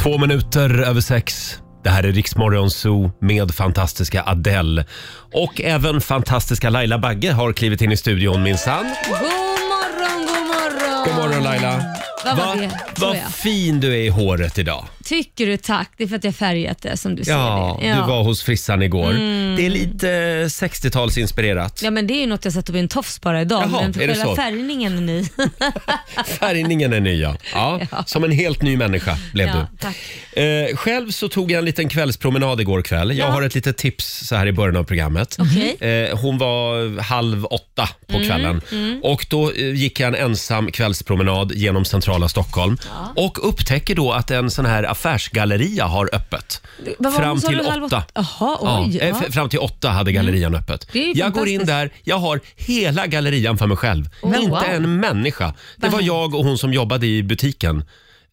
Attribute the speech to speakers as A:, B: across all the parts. A: Två minuter över sex. Det här är Riksmorgon Zoo med fantastiska Adele. Och även fantastiska Laila Bagge har klivit in i studion minsann.
B: God morgon, god morgon!
A: God morgon Laila.
B: Vad var
A: Va-
B: det? Tror
A: Vad
B: jag.
A: fin du är i håret idag.
B: Tycker du tack? Det är för att jag färgat det som du
A: Ja,
B: ser. det. Mm.
A: du var hos frissan igår. Det är lite eh, 60-talsinspirerat.
B: Ja, men det är ju något jag satte på en tofs bara idag.
A: Jaha,
B: men
A: är det
B: själva
A: så?
B: färgningen är ny.
A: Färgningen är ny ja. ja. Som en helt ny människa blev
B: ja,
A: du.
B: tack.
A: Eh, själv så tog jag en liten kvällspromenad igår kväll. Jag
B: Ja.
A: har ett litet tips så här i början av programmet.
B: Okej. Mm,
A: Eh, hon var halv åtta på kvällen och då eh, gick jag en ensam kvällspromenad genom centrala Stockholm och upptäcker då att en sån här affärsgalleria har öppet.
B: Vad var det
A: Fram
B: hon sa
A: till
B: då? Halv
A: åtta.
B: Jaha, oj.
A: Ja, eh,
B: Ja. Mm.
A: f- Fram till åtta hade gallerian öppet.
B: Det är ju
A: Jag går in
B: fantastiskt.
A: där, jag har hela gallerian för mig själv.
B: Oh,
A: Inte
B: wow.
A: en människa. Det var jag och hon som jobbade i butiken.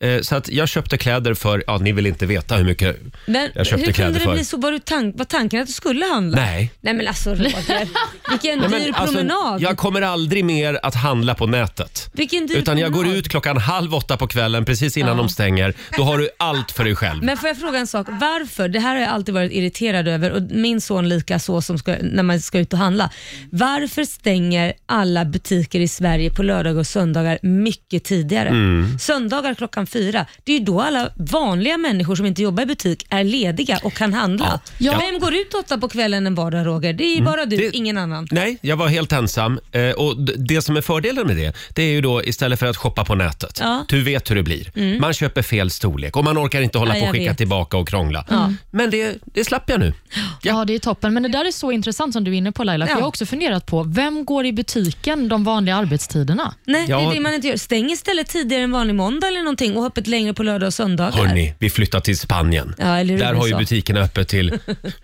A: Eh, Så att jag köpte kläder för, ja ni vill inte veta hur mycket
B: Men
A: jag köpte kläder
B: hur kunde det
A: för.
B: bli så? Var, du tank, var tanken att du skulle handla?
A: Nej.
B: Nej men alltså Roger, vilken
A: Nej, men
B: dyr
A: alltså,
B: promenad.
A: jag kommer aldrig mer att handla på nätet.
B: Vilken dyr
A: Utan jag går
B: promenad.
A: ut klockan halv åtta på kvällen precis innan de stänger. Då har du allt för dig själv.
B: Men får jag fråga en sak? Varför? Det här har jag alltid varit irriterad över och min son lika så som ska, när man ska ut och handla. Varför stänger alla butiker i Sverige på lördagar och söndagar mycket tidigare?
A: Mm.
B: Söndagar klockan fyra. Det är ju då alla vanliga människor som inte jobbar i butik är lediga och kan handla.
A: Ja. Mm.
B: Vem går ut åtta på kvällen en vardag Roger? Det är ju bara du,
A: Det-
B: ingen annan.
A: Nej, jag var helt ensam. Eh, och d- Det som är fördelen med det, det är ju då istället för att shoppa på nätet.
B: Ja. Mm.
A: Du vet hur det blir. Man köper fel storlek och man orkar inte hålla
B: Ja,
A: på och
B: jag
A: skicka
B: vet.
A: tillbaka och krångla. Men det, det slapp jag nu.
C: Ja. det är toppen. Men det där är så intressant som du är inne på Laila. För
B: Ja.
C: Jag har också funderat på, vem går i butiken de vanliga arbetstiderna?
B: Nej, det
A: Ja.
B: är det man inte gör. Stäng istället tidigare än vanlig måndag eller någonting och ha öppet längre på lördag och söndagar.
A: Hörni, vi flyttar till Spanien.
B: Ja, eller hur
A: Där
B: det
A: har ju
B: sa.
A: butikerna öppet till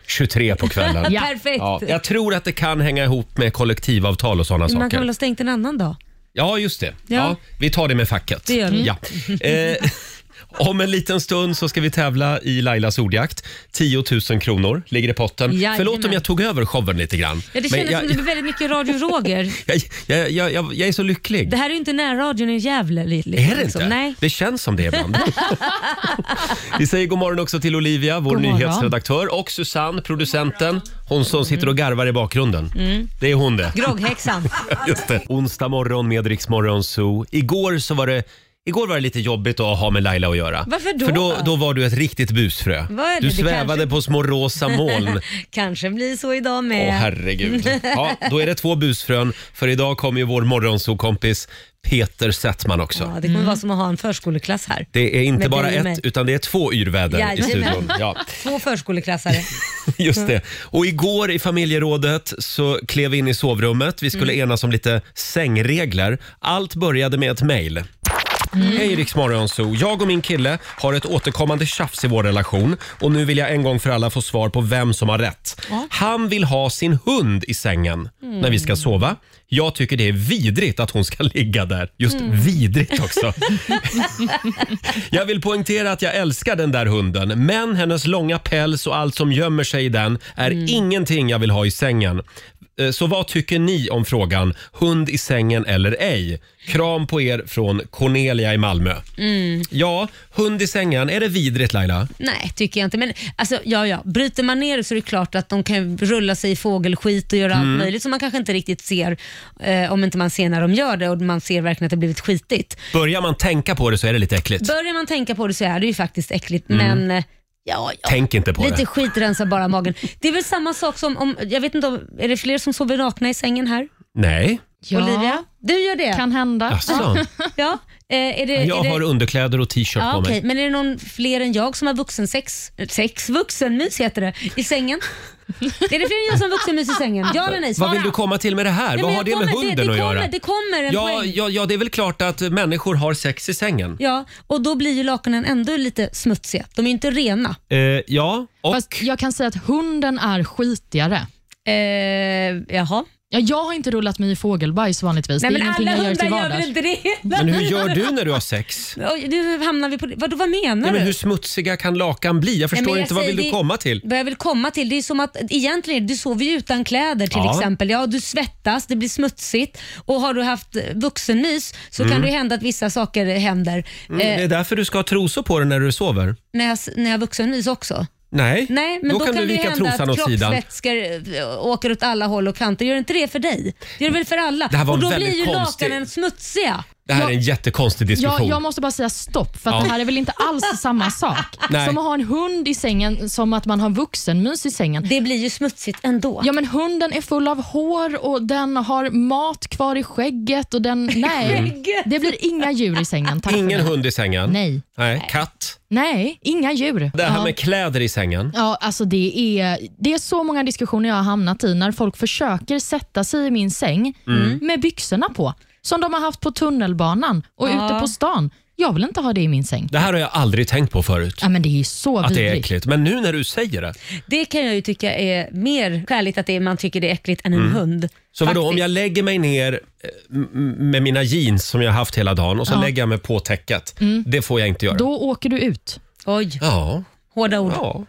A: 23 på kvällen.
C: Ja.
B: Perfekt.
A: Ja, jag tror att det kan hänga ihop med kollektivavtal och sådana
B: Man kan väl
A: saker.
B: ha stängt en annan dag?
A: Ja, just det. Ja.
B: Ja.
A: vi tar det med facket.
B: Det gör vi.
A: Ja. Eh, om en liten stund så ska vi tävla i Lailas ordjakt. 10 000 kronor ligger i potten.
B: Jajamän.
A: Förlåt om jag tog över showen lite grann.
B: Ja, det
A: Men
B: kändes
A: jag,
B: som det blev väldigt mycket Radio Roger.
A: jag, jag, jag, jag, jag är så lycklig.
B: Det här är ju inte närradion i Gävle. li- li-
A: Är det
B: liksom.
A: inte?
B: Nej.
A: Det känns som det ibland. Vi säger god morgon också till Olivia, vår
C: God morgon.
A: nyhetsredaktör och Susanne, producenten. Hon som sitter och garvar i bakgrunden.
B: Mm.
A: Det är hon det.
B: Grogghäxan.
A: Just det. Onsdag morgon med Rix Morgon Zoo. Igår så var det Igår var det lite jobbigt att ha med Laila att göra.
B: Varför då?
A: För då, då var du ett riktigt busfrö.
B: Vad är det?
A: Du
B: Det
A: svävade
B: kanske-
A: på små rosa moln.
B: Kanske blir så idag
A: Åh
B: med.
A: herregud. Ja, då är det två busfrön. För idag kommer ju vår morgonsokompis Peter Settman också.
B: ja, det kommer vara som att ha en förskoleklass här.
A: Mm. Det är inte
B: Med
A: bara
B: dig och
A: ett
B: mig.
A: utan det är två yrväder i
B: Jajamän.
A: studion. Ja.
B: Två förskoleklassare.
A: Just det. Och igår i familjerådet så klev vi in i sovrummet. Vi skulle enas om lite sängregler. Allt började med ett mejl. Hej Rix Morgonzoo. Jag och min kille har ett återkommande tjafs i vår relation och nu vill jag en gång för alla få svar på vem som har rätt. Han vill ha sin hund i sängen när vi ska sova. Jag tycker det är vidrigt att hon ska ligga där. Just vidrigt också. Jag vill poängtera att jag älskar den där hunden, men hennes långa päls och allt som gömmer sig i den är
B: Mm.
A: ingenting jag vill ha i sängen. Eh, Så vad tycker ni om frågan hund i sängen eller ej? Kram på er från Cornelia i Malmö.
B: Mm.
A: Ja, hund i sängen, är det vidrigt Laila?
B: Nej, tycker jag inte. Men alltså, ja, ja. Bryter man ner det så är det klart att de kan rulla sig i fågelskit och göra
A: Mm.
B: allt möjligt som man kanske inte riktigt ser eh, om inte man ser när de gör det och man ser verkligen att det blivit skitigt.
A: Börjar man tänka på det så är det lite äckligt.
B: Börjar man tänka på det så är det ju faktiskt äckligt,
A: Mm.
B: men eh, ja, ja.
A: Tänk inte på
B: Lite
A: det.
B: skit rensar bara magen. Det är väl samma sak som om, jag vet inte om, är det fler som sover nakna i sängen här?
A: Nej,
C: Ja,
B: Olivia? Du gör det?
C: kan hända.
A: alltså.
B: Ja. Eh, är det,
A: Jag
B: är det,
A: har underkläder och t-shirt
B: ja,
A: på mig.
B: okej. Men är det någon fler än jag som har vuxensex, sex, vuxenmys heter det, i sängen? är det fler än jag som har vuxenmys i sängen? Ja eller nej? Svara.
A: Vad vill du komma till med det här?
B: Nej,
A: Vad
B: men
A: har det
B: jag
A: med
B: kommer-
A: hunden
B: det, det
A: att
B: kommer,
A: göra?
B: Det kommer en
A: Ja,
B: poäng.
A: ja, ja, det är väl klart att människor har sex i sängen.
B: Ja, och då blir ju lakanen ändå lite smutsiga. De är ju inte rena.
A: Eh, ja, och
C: Fast jag kan säga att hunden är skitigare.
B: Eh, jaha.
C: Ja, jag har inte rullat mig i fågelbajs vanligtvis.
B: Nej,
C: det är
B: men
C: ingenting
B: alla
C: jag
B: hundar
C: gör till
B: gör
C: vardags.
B: väl inte det?
A: Men hur gör du när du har sex?
B: Oj, nu hamnar vi på det. Vadå, vad
A: Nej,
B: menar
A: men
B: du?
A: hur smutsiga kan lakan bli? Jag
B: Nej, men
A: förstår
B: jag
A: inte. Vad
B: säger,
A: vill du
B: det-
A: komma till?
B: Vad jag vill komma till, det är som att egentligen, du sover ju utan kläder till
A: Ja.
B: exempel. Ja, du svettas, det blir smutsigt och har du haft vuxenmys så
A: Mm.
B: kan det ju hända att vissa saker händer.
A: Det
B: Eh,
A: är därför du ska ha trosor på dig när du sover.
B: när, jag, s- när jag har vuxenmys också.
A: Nej,
B: Nej, men
A: då,
B: då,
A: kan du
B: det
A: vika
B: hända
A: trosan
B: att
A: åt sidan.
B: kroppsvätskor eh, åker åt alla håll och kanter. Gör inte det för dig? Gör det väl för alla?
A: Det här var
B: och då
A: väldigt
B: blir ju
A: konstig-
B: lakanen smutsiga.
A: Det här är
C: Jag-
A: en jättekonstig diskussion.
C: Jag, jag måste bara säga stopp, för att
A: Ja.
C: det här är väl inte alls samma sak?
A: Nej.
C: Som att ha en hund i sängen som att man har vuxenmys i sängen.
B: Det blir ju smutsigt ändå.
A: Mm.
C: Ja men hunden är full av hår och den har mat kvar i skägget och den... Nej,
B: Skägget.
C: det blir inga djur i sängen. Tack för
A: Mm. Ingen
C: mig.
A: hund i sängen.
C: Nej.
A: Nej, katt.
C: Nej, inga djur.
A: Det här
C: Ja.
A: med kläder i sängen.
C: Ja, alltså det är, det är så många diskussioner jag har hamnat i när folk försöker sätta sig i min säng
A: Mm.
C: med byxorna på, som de har haft på tunnelbanan och
B: Ja.
C: ute på stan. Jag vill inte ha det i min säng.
A: Det här har jag aldrig tänkt på förut.
C: Ja, men det är ju så
A: Att det är
C: vidrigt.
A: äckligt. Men nu när du säger det.
B: Det kan jag ju tycka är mer skäligt att det är, man tycker det är äckligt än en hund.
A: Mm. Så vadå,
B: Faktiskt.
A: om jag lägger mig ner eh, m- m- med mina jeans som jag haft hela dagen och så lägger jag mig på täcket.
B: Mm.
A: Det får jag inte göra.
C: Då åker du ut.
B: Oj,
A: Ja,
B: hårda ord.
A: ja.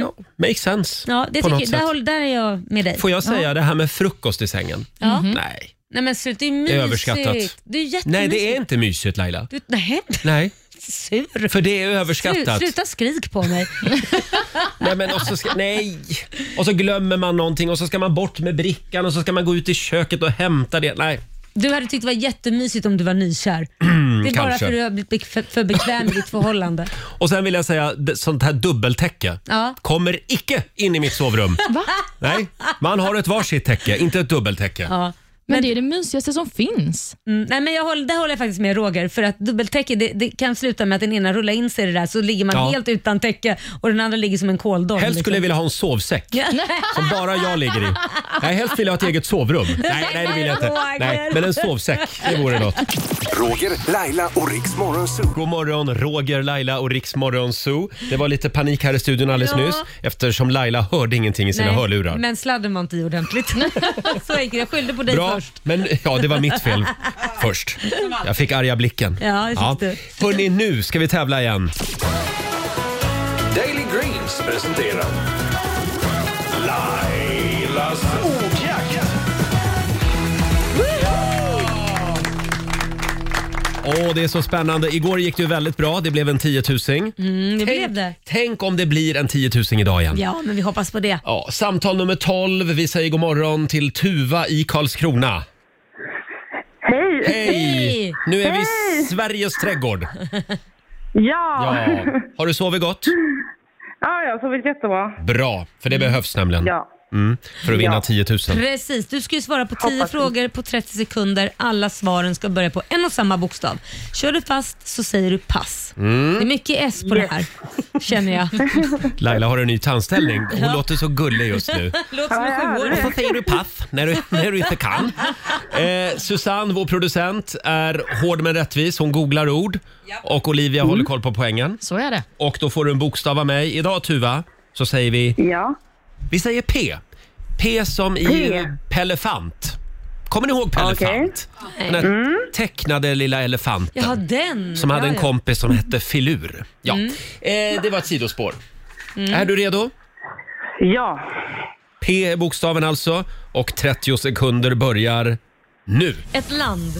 A: ja. Makes sense.
B: Mm. Ja, det
A: på något
B: tycker, där,
A: sätt.
B: håll, där är jag med dig.
A: Får jag säga det här med frukost i sängen?
B: Ja.
A: Nej.
B: Nej men slut, det är mysigt.
A: är överskattat.
B: Det är jättemysigt.
A: Nej, det är inte mysigt Laila.
B: Du, nej,
A: Nej,
B: sur.
A: för det är
B: Slu-
A: överskattat.
B: Sluta skrik på mig.
A: Nej, men och, så ska, nej. och så glömmer man någonting och så ska man bort med brickan och så ska man gå ut i köket och hämta det. Nej.
B: Du hade tyckt det var jättemysigt om du var nykär. det är bara
A: kanske.
B: för att du har blivit bek- för, för bekväm i ditt förhållande.
A: Och sen vill jag säga, d- sånt här dubbeltäcke
B: Ja.
A: kommer icke in i mitt sovrum.
C: Va?
A: Nej, man har ett varsitt täcke, inte ett dubbeltäcke.
B: Ja.
C: Men, det är det mysigaste som finns.
B: Mm, nej men jag håller, där håller jag faktiskt med Roger, för att dubbeltäcke det, det kan sluta med att den ena rullar in sig i det där så ligger man
A: Ja.
B: helt utan täcke och den andra ligger som en kåldolk.
A: Helst skulle jag
B: liksom.
A: vilja ha en sovsäck som bara jag ligger i. Nej, helst vill jag ha ett eget sovrum. Nej, nej det vill jag inte. Nej, men en sovsäck, det vore något.
D: Roger, Laila och Riks Morgonzoo.
A: God morgon, Roger, Laila och Riksmorgon Zoo. Det var lite panik här i studion alldeles
B: Ja.
A: nyss eftersom Laila hörde ingenting i sina
B: Nej,
A: hörlurar.
B: Men sladden var inte i ordentligt. så enkelt, jag skyllde på dig
A: Bra,
B: först.
A: men ja, det var mitt fel först. Jag fick arga blicken.
B: Ja, jag fick det.
A: Hörni, nu ska vi tävla igen.
D: Daily Greens presenterar Lailas ordjakt.
A: Åh, det är så spännande. Igår gick det ju väldigt bra. Det blev en 10 000.
B: Mm, det blev det.
A: Tänk om det blir en 10 000 idag igen.
B: Ja, men vi hoppas på det.
A: Ja, samtal nummer 12. Vi säger god morgon till Tuva i Karlskrona.
E: Hej!
A: Hej!
B: Hej!
A: Nu är vi i Sveriges trädgård.
E: Ja.
A: Ja. Har du sovit gott?
E: ja, jag har sovit jättebra.
A: Bra, för det behövs nämligen.
E: Ja.
A: Mm, för att vinna
E: Ja.
A: 10 000.
B: Precis, du ska ju svara på 10
E: Hoppas det.
B: frågor på 30 sekunder. Alla svaren ska börja på en och samma bokstav. Kör du fast så säger du pass.
E: Mm.
B: Det är mycket S på det här, känner jag.
A: Laila har en ny tandställning. Hon låter så gullig just nu.
B: Låter som en
E: Ja, ja.
B: sjuåring.
A: Varför säger du paff när du, när du inte kan? Eh, Susanne, vår producent, är hård men rättvis. Hon googlar ord. Och Olivia håller
E: Mm.
A: koll på poängen.
C: Så är det.
A: Och då får du en bokstav av mig. Idag Tuva, så säger vi...
E: Ja.
A: Vi säger P. P som i
E: P.
A: Pelefant. Kommer ni ihåg Pelefant? Den här tecknade lilla elefanten.
B: Jaha, den.
A: Som hade
B: Ja,
A: en
B: ja.
A: kompis som hette Filur. Ja. Eh, det var ett sidospår. Är du redo?
E: Ja.
A: P är bokstaven alltså och 30 sekunder börjar nu.
B: Ett land.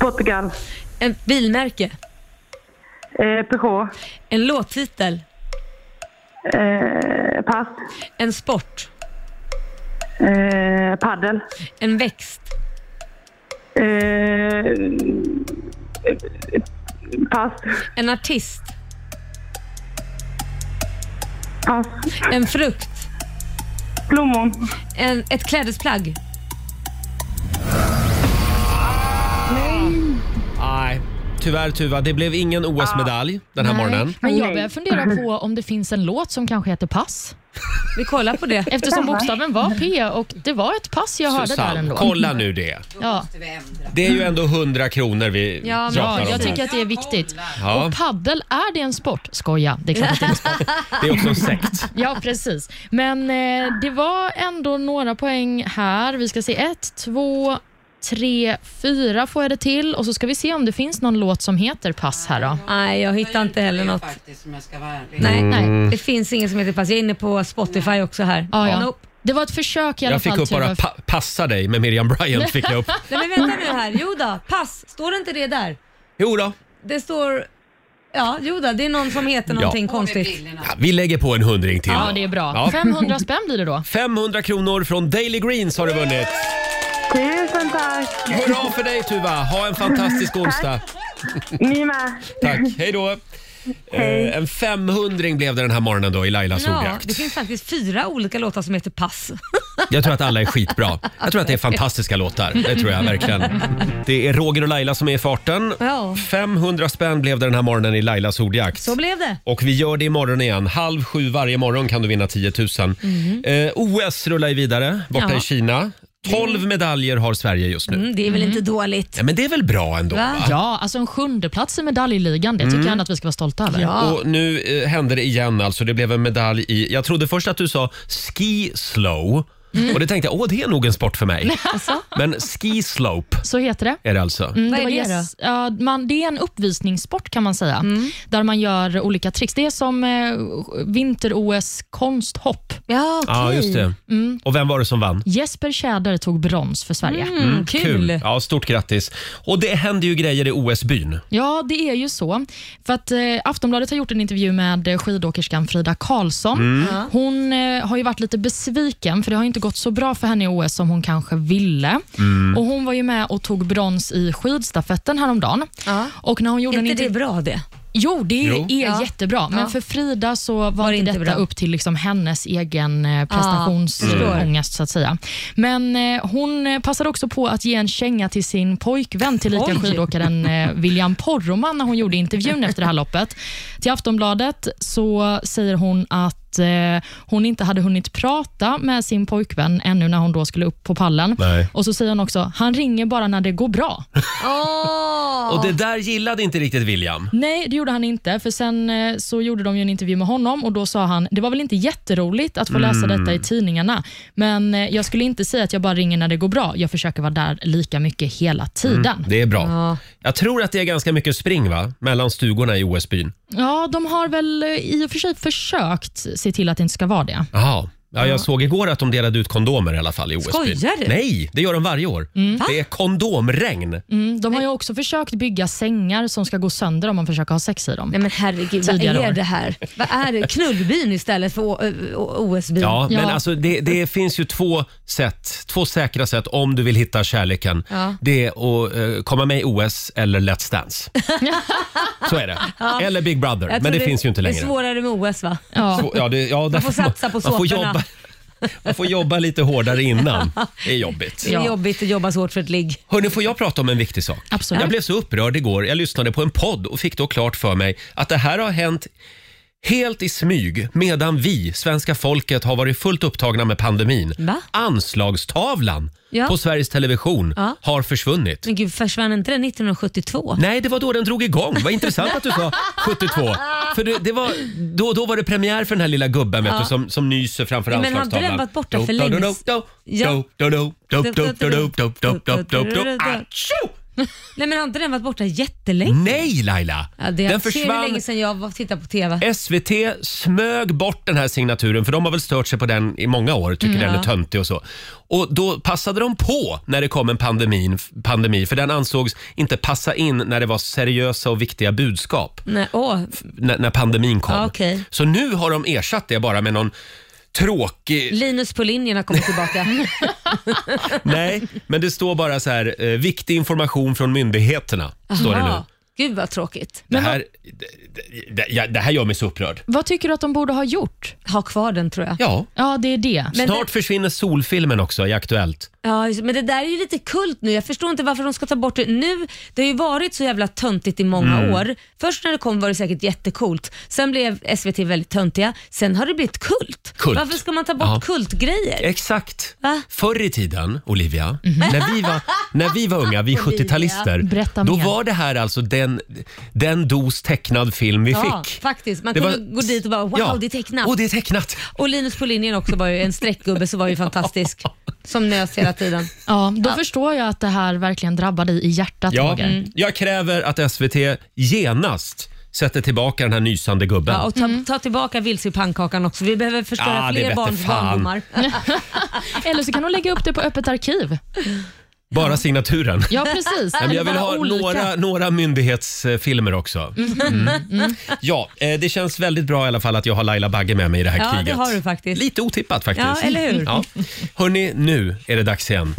E: Portugal.
B: Ett bilmärke.
E: Eh, Peugeot.
B: En låttitel.
E: Eh, pass.
B: En sport.
E: Eh, paddel.
B: En växt.
E: Eh, pass.
B: En artist.
E: Pass.
B: En frukt.
E: Blommon.
B: En, ett klädesplagg.
A: Nej, tyvärr Tuva, det blev ingen OS-medalj den här morgonen.
C: Men jag
E: Nej.
C: börjar fundera på om det finns en låt som kanske heter Pass.
B: Vi kollar på det.
C: Eftersom bokstaven var P och det var ett pass jag hörde där
A: Susanne,
C: ändå.
A: kolla nu det.
C: Ja,
A: Det är ju ändå 100 kronor vi
B: Ja, men-
A: pratar
C: ja,
A: om. här.
C: jag tycker att det är viktigt.
A: Ja.
C: Och paddel, är det en sport? Skoja, det är klart att det är en sport.
A: Det är också en sekt.
C: Ja, precis. Men eh, det var ändå några poäng här. Vi ska se. Ett, två, tre, fyra får jag det till. Och så ska vi se om det finns någon låt som heter Pass här då.
B: Nej, jag hittar inte heller något.
F: Faktiskt, om jag ska vara ärlig.
B: Nej,
C: Nej.
A: Mm.
B: det finns ingen som heter pass. Jag är inne på Spotify också här.
C: Ja, ja.
B: Nope.
C: Det var ett försök i alla
A: Jag fick
C: fall.
A: upp
C: till
A: bara
C: att-
A: pa- “passa dig” med Miriam Bryant. Fick jag upp.
B: Nej, men vänta nu här. Jo då, pass. Står det inte det där?
A: Jo då.
B: Det står... Ja, jo då, det är någon som heter någonting
F: På med
B: konstigt.
F: brillorna.
A: Ja, vi lägger på en hundring till.
C: Ja, det är bra.
A: Ja.
C: 500 spänn blir det då.
A: 500 kronor från Daily Greens har du vunnit.
E: Tusen tack!
A: Hurra för dig Tuva! Ha en fantastisk onsdag.
E: Ni med.
A: Tack, hej då. Eh, en 500 blev det den här morgonen då i Lailas
B: Ja,
A: ordjakt.
B: det finns faktiskt fyra olika låtar som heter pass.
A: Jag tror att alla är skitbra. Jag tror att det är fantastiska låtar. Det tror jag verkligen. Det är Roger och Laila som är i farten.
B: Ja.
A: 500 spänn blev det den här morgonen i Lailas ordjakt.
B: Så blev det.
A: Och vi gör det imorgon igen. Halv sju varje morgon kan du vinna 10 000. Eh, OS rullar ju vidare borta
B: Mhm. Ja.
A: i Kina. 12 medaljer har Sverige just nu. Ah.
B: Mm, det är väl inte dåligt?
A: Ja, men det är väl bra ändå?
B: Va?
A: Va?
C: Ja, alltså en sjundeplats i medaljligan, det tycker
A: Mm.
C: jag ändå att vi ska vara stolta över.
A: Och nu eh, hände det igen alltså. Det blev en medalj i... Jag trodde först att du sa ski slow.
B: Mm.
A: Och det tänkte jag, åh det är nog en sport för mig.
B: Alltså?
A: Men ski slope
C: Så heter det.
A: är det alltså.
C: Mm,
B: Vad
C: det
B: är
C: var
B: det Mm.
C: yes- ja, man, det är en uppvisningssport kan man säga, där man gör olika tricks. Det är som eh, vinter-OS konsthopp.
B: Ja, okej.
A: Ja, just det. Och vem var det som vann?
C: Jesper Tjäder tog brons för Sverige.
B: Mm, kul.
A: Ja, stort grattis. Och det händer ju grejer i OS-byn.
C: Ja, det är ju så. För att eh, Aftonbladet har gjort en intervju med eh, skidåkerskan Frida Karlsson. Hon eh, har ju varit lite besviken, för det har ju inte gått så bra för henne i OS som hon kanske ville. Och Hon var ju med och tog brons i skidstafetten häromdagen.
B: Ja.
C: Och när hon gjorde
B: Är
C: en
B: inte
C: intervju-
B: det bra det?
C: Jo, det
A: Jo.
C: är
B: Ja.
C: jättebra. Men för Frida så var,
B: det
C: inte
B: inte
C: detta
B: bra.
C: upp till liksom hennes egen eh, prestationsångest. så att säga. Men eh, hon eh, passade också på att ge en känga till sin pojkvän, tillika
B: Oj.
C: skidåkaren eh, William Poroman, när hon gjorde intervjun efter det här loppet. Till Aftonbladet så säger hon att eh, hon inte hade hunnit prata med sin pojkvän ännu när hon då skulle upp på pallen.
A: Nej.
C: Och så säger hon också, han ringer bara när det går bra.
B: Åh!
A: Och det där gillade inte riktigt William.
C: Nej, det gjorde han inte. För Sen eh, så gjorde de ju en intervju med honom och då sa han, det var väl inte jätteroligt att få läsa detta i tidningarna, men eh, jag skulle inte säga att jag bara ringer när det går bra. Jag försöker vara där lika mycket hela tiden.
A: Det är bra.
B: Ja.
A: Jag tror att det är ganska mycket spring va? mellan stugorna i OS-byn.
C: Ja, de har väl eh, i och för sig försökt se till att det inte ska vara det.
A: Jaha. Ja, jag såg igår att de delade ut kondomer i alla fall i OS-byn.
B: Skojar du? Mm.
A: Nej, det gör de varje år. Det är kondomregn.
C: Mm, de har ju också försökt bygga sängar som ska gå sönder om man försöker ha sex i dem.
B: Nej men herregud,
C: Tidigare
B: vad är
C: år.
B: det här? Vad är det? Knullbyn istället för O- Ö- Ö- OS-byn?
A: Ja, men
C: Ja.
A: alltså det, det finns ju två sätt, två säkra sätt om du vill hitta kärleken.
B: Ja.
A: Det är att eh, komma med i OS eller Let's Dance. Så är det. Eller Big Brother, men
B: Jag tror
A: det, finns ju inte längre.
B: Det är svårare med OS va?
C: Ja.
A: Svå- Ja, det, ja, man
B: får satsa på
A: man får
B: såporna.
A: jobba, man får jobba lite hårdare innan. Det är jobbigt.
B: Det är
C: Ja.
B: jobbigt att jobba så hårt för ett ligg.
A: Hörni, får jag prata om en viktig sak?
C: Absolut.
A: Jag blev så upprörd igår. Jag lyssnade på en podd och fick då klart för mig att det här har hänt helt i smyg medan vi, svenska folket, har varit fullt upptagna med pandemin.
B: Va?
A: Anslagstavlan
B: Ja.
A: på Sveriges Television
B: Ja.
A: har försvunnit.
B: Men gud, försvann inte den 1972?
A: Nej, det var då den drog igång. Vad intressant att du sa 72. För det, det var, då, då var det premiär för den här lilla gubben vet du, som, som nyser framför
B: Ja, men
A: anslagstavlan.
B: hade den varit borta för
A: Do, do,
B: länge
A: do, do,
B: Ja.
A: do, do, do, do, do, do, do, do, do, do, do. Atjo!
B: Nej men har inte den varit borta jättelänge?
A: Nej Laila!
B: Ja, det
A: Den
B: Ser hur
A: försvann.
B: länge sedan jag var- tittade på TV.
A: SVT smög bort den här signaturen för de har väl stört sig på den i många år, tycker
B: Mm,
A: den är töntig och så. Och då passade de på när det kom en pandemin, pandemi för den ansågs inte passa in när det var seriösa och viktiga budskap.
B: Nej, åh.
A: när, när pandemin kom.
B: Ja, okej.
A: Så nu har de ersatt det bara med någon tråkig...
B: Linus på linjen har kommit tillbaka.
A: Nej, men det står bara så här, eh, viktig information från myndigheterna. Står det nu.
B: Jaha. Gud vad tråkigt.
A: Det här, det, det, ja, det här gör mig så upprörd.
C: Vad tycker du att de borde ha gjort?
B: Ha kvar den tror jag.
A: Ja.
C: Ja, det är det.
B: Men-
A: Snart försvinner solfilmen också i Aktuellt.
B: Ja, just- men det där är ju lite kult nu. Jag förstår inte varför de ska ta bort det nu. Det har ju varit så jävla töntigt i många
A: Mm.
B: år. Först när det kom var det säkert jättecoolt. Sen blev SVT väldigt töntiga. Sen har det blivit kult.
A: Kult.
B: Varför ska man ta bort
A: Ja. Eh,
B: kultgrejer?
A: Exakt.
B: Va? Mhm.
A: Förr i tiden, Olivia, när, vi var, när vi var unga, vi 70-talister,
C: Berätta
A: då
C: mer.
A: var det här alltså den, den dos tecknad film vi
B: Ja,
A: fick.
B: faktiskt. Man
A: Det
B: kunde
A: var-
B: gå dit och bara wow,
A: Ja.
B: det är tecknat.
A: Och det är tecknat.
B: Och Linus på linjen också var ju en streckgubbe som var ju fantastisk. Som nös hela tiden.
C: Ja, då förstår jag att det här verkligen drabbar dig i hjärtat,
A: Ja, Mm.
C: Roger.
B: Mm.
A: Jag kräver att SVT genast sätter tillbaka den här nysande gubben.
B: Ja, och ta, ta tillbaka vilsepannkakan också. Vi behöver förstöra
A: Ah, det
B: fler
A: vete
B: barns
A: fan.
B: barndomar.
C: Eller så kan de lägga upp det på öppet arkiv.
A: Bara signaturen.
C: Ja, precis.
A: Nej, men jag
C: Eller
A: vill
C: bara
A: ha
C: olika.
A: några, några myndighetsfilmer också. Mm. Ja, eh, det känns väldigt bra i alla fall att jag har Laila Bagge med mig i det här
B: Ja, det
A: kriget.
B: har du faktiskt.
A: Lite otippat faktiskt.
B: Ja, eller hur?
A: Ja. Hörni, nu är det dags igen.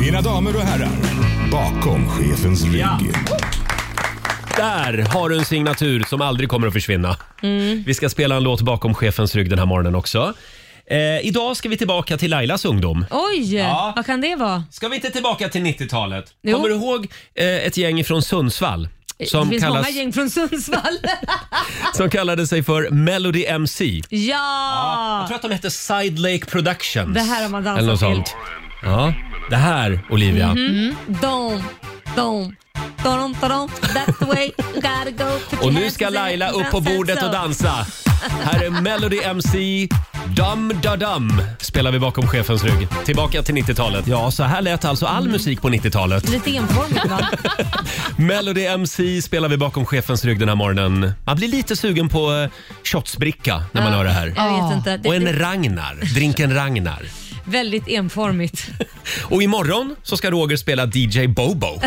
F: Mina damer och herrar, bakom chefens rygg.
A: Där har du en signatur som aldrig kommer att försvinna.
B: Mm.
A: Vi ska spela en låt bakom chefens rygg den här morgonen också. Eh, idag ska vi tillbaka till Lailas ungdom.
B: Oj,
A: Ja.
B: vad kan det vara?
A: Ska vi inte tillbaka till 90-talet?
B: Jo. Eh,
A: Kommer du ihåg eh, ett gäng från Sundsvall?
B: det
A: Som,
B: finns
A: kallas,
B: många gäng från Sundsvall.
A: som kallade sig för Melody MC.
B: ja!
A: Jag tror att de hette Side Lake Productions.
B: Det här har man dansat
A: Eller något
B: till. Mhm.
A: sånt. Ja, det här Olivia.
B: Dom, dom, dom, dom, that's the way you gotta go. Put
A: Och
B: your
A: nu
B: hands
A: ska
B: in the air
A: Laila
B: and
A: upp på
B: dance
A: bordet
B: so.
A: och dansa. Här är Melody MC. Dum da dum spelar vi bakom chefens rygg. Tillbaka till 90-talet. Ja, så här lät alltså
B: Mm.
A: all musik på 90-talet.
B: Lite enformigt va?
A: Melody MC spelar vi bakom chefens rygg den här morgonen. Man blir lite sugen på eh, shotsbricka när man hör det här.
B: Jag vet inte. Det,
A: Och
B: det
A: en
B: är
A: Ragnar, drinken Ragnar.
B: väldigt enformigt.
A: Och imorgon så ska Roger spela DJ Bobo.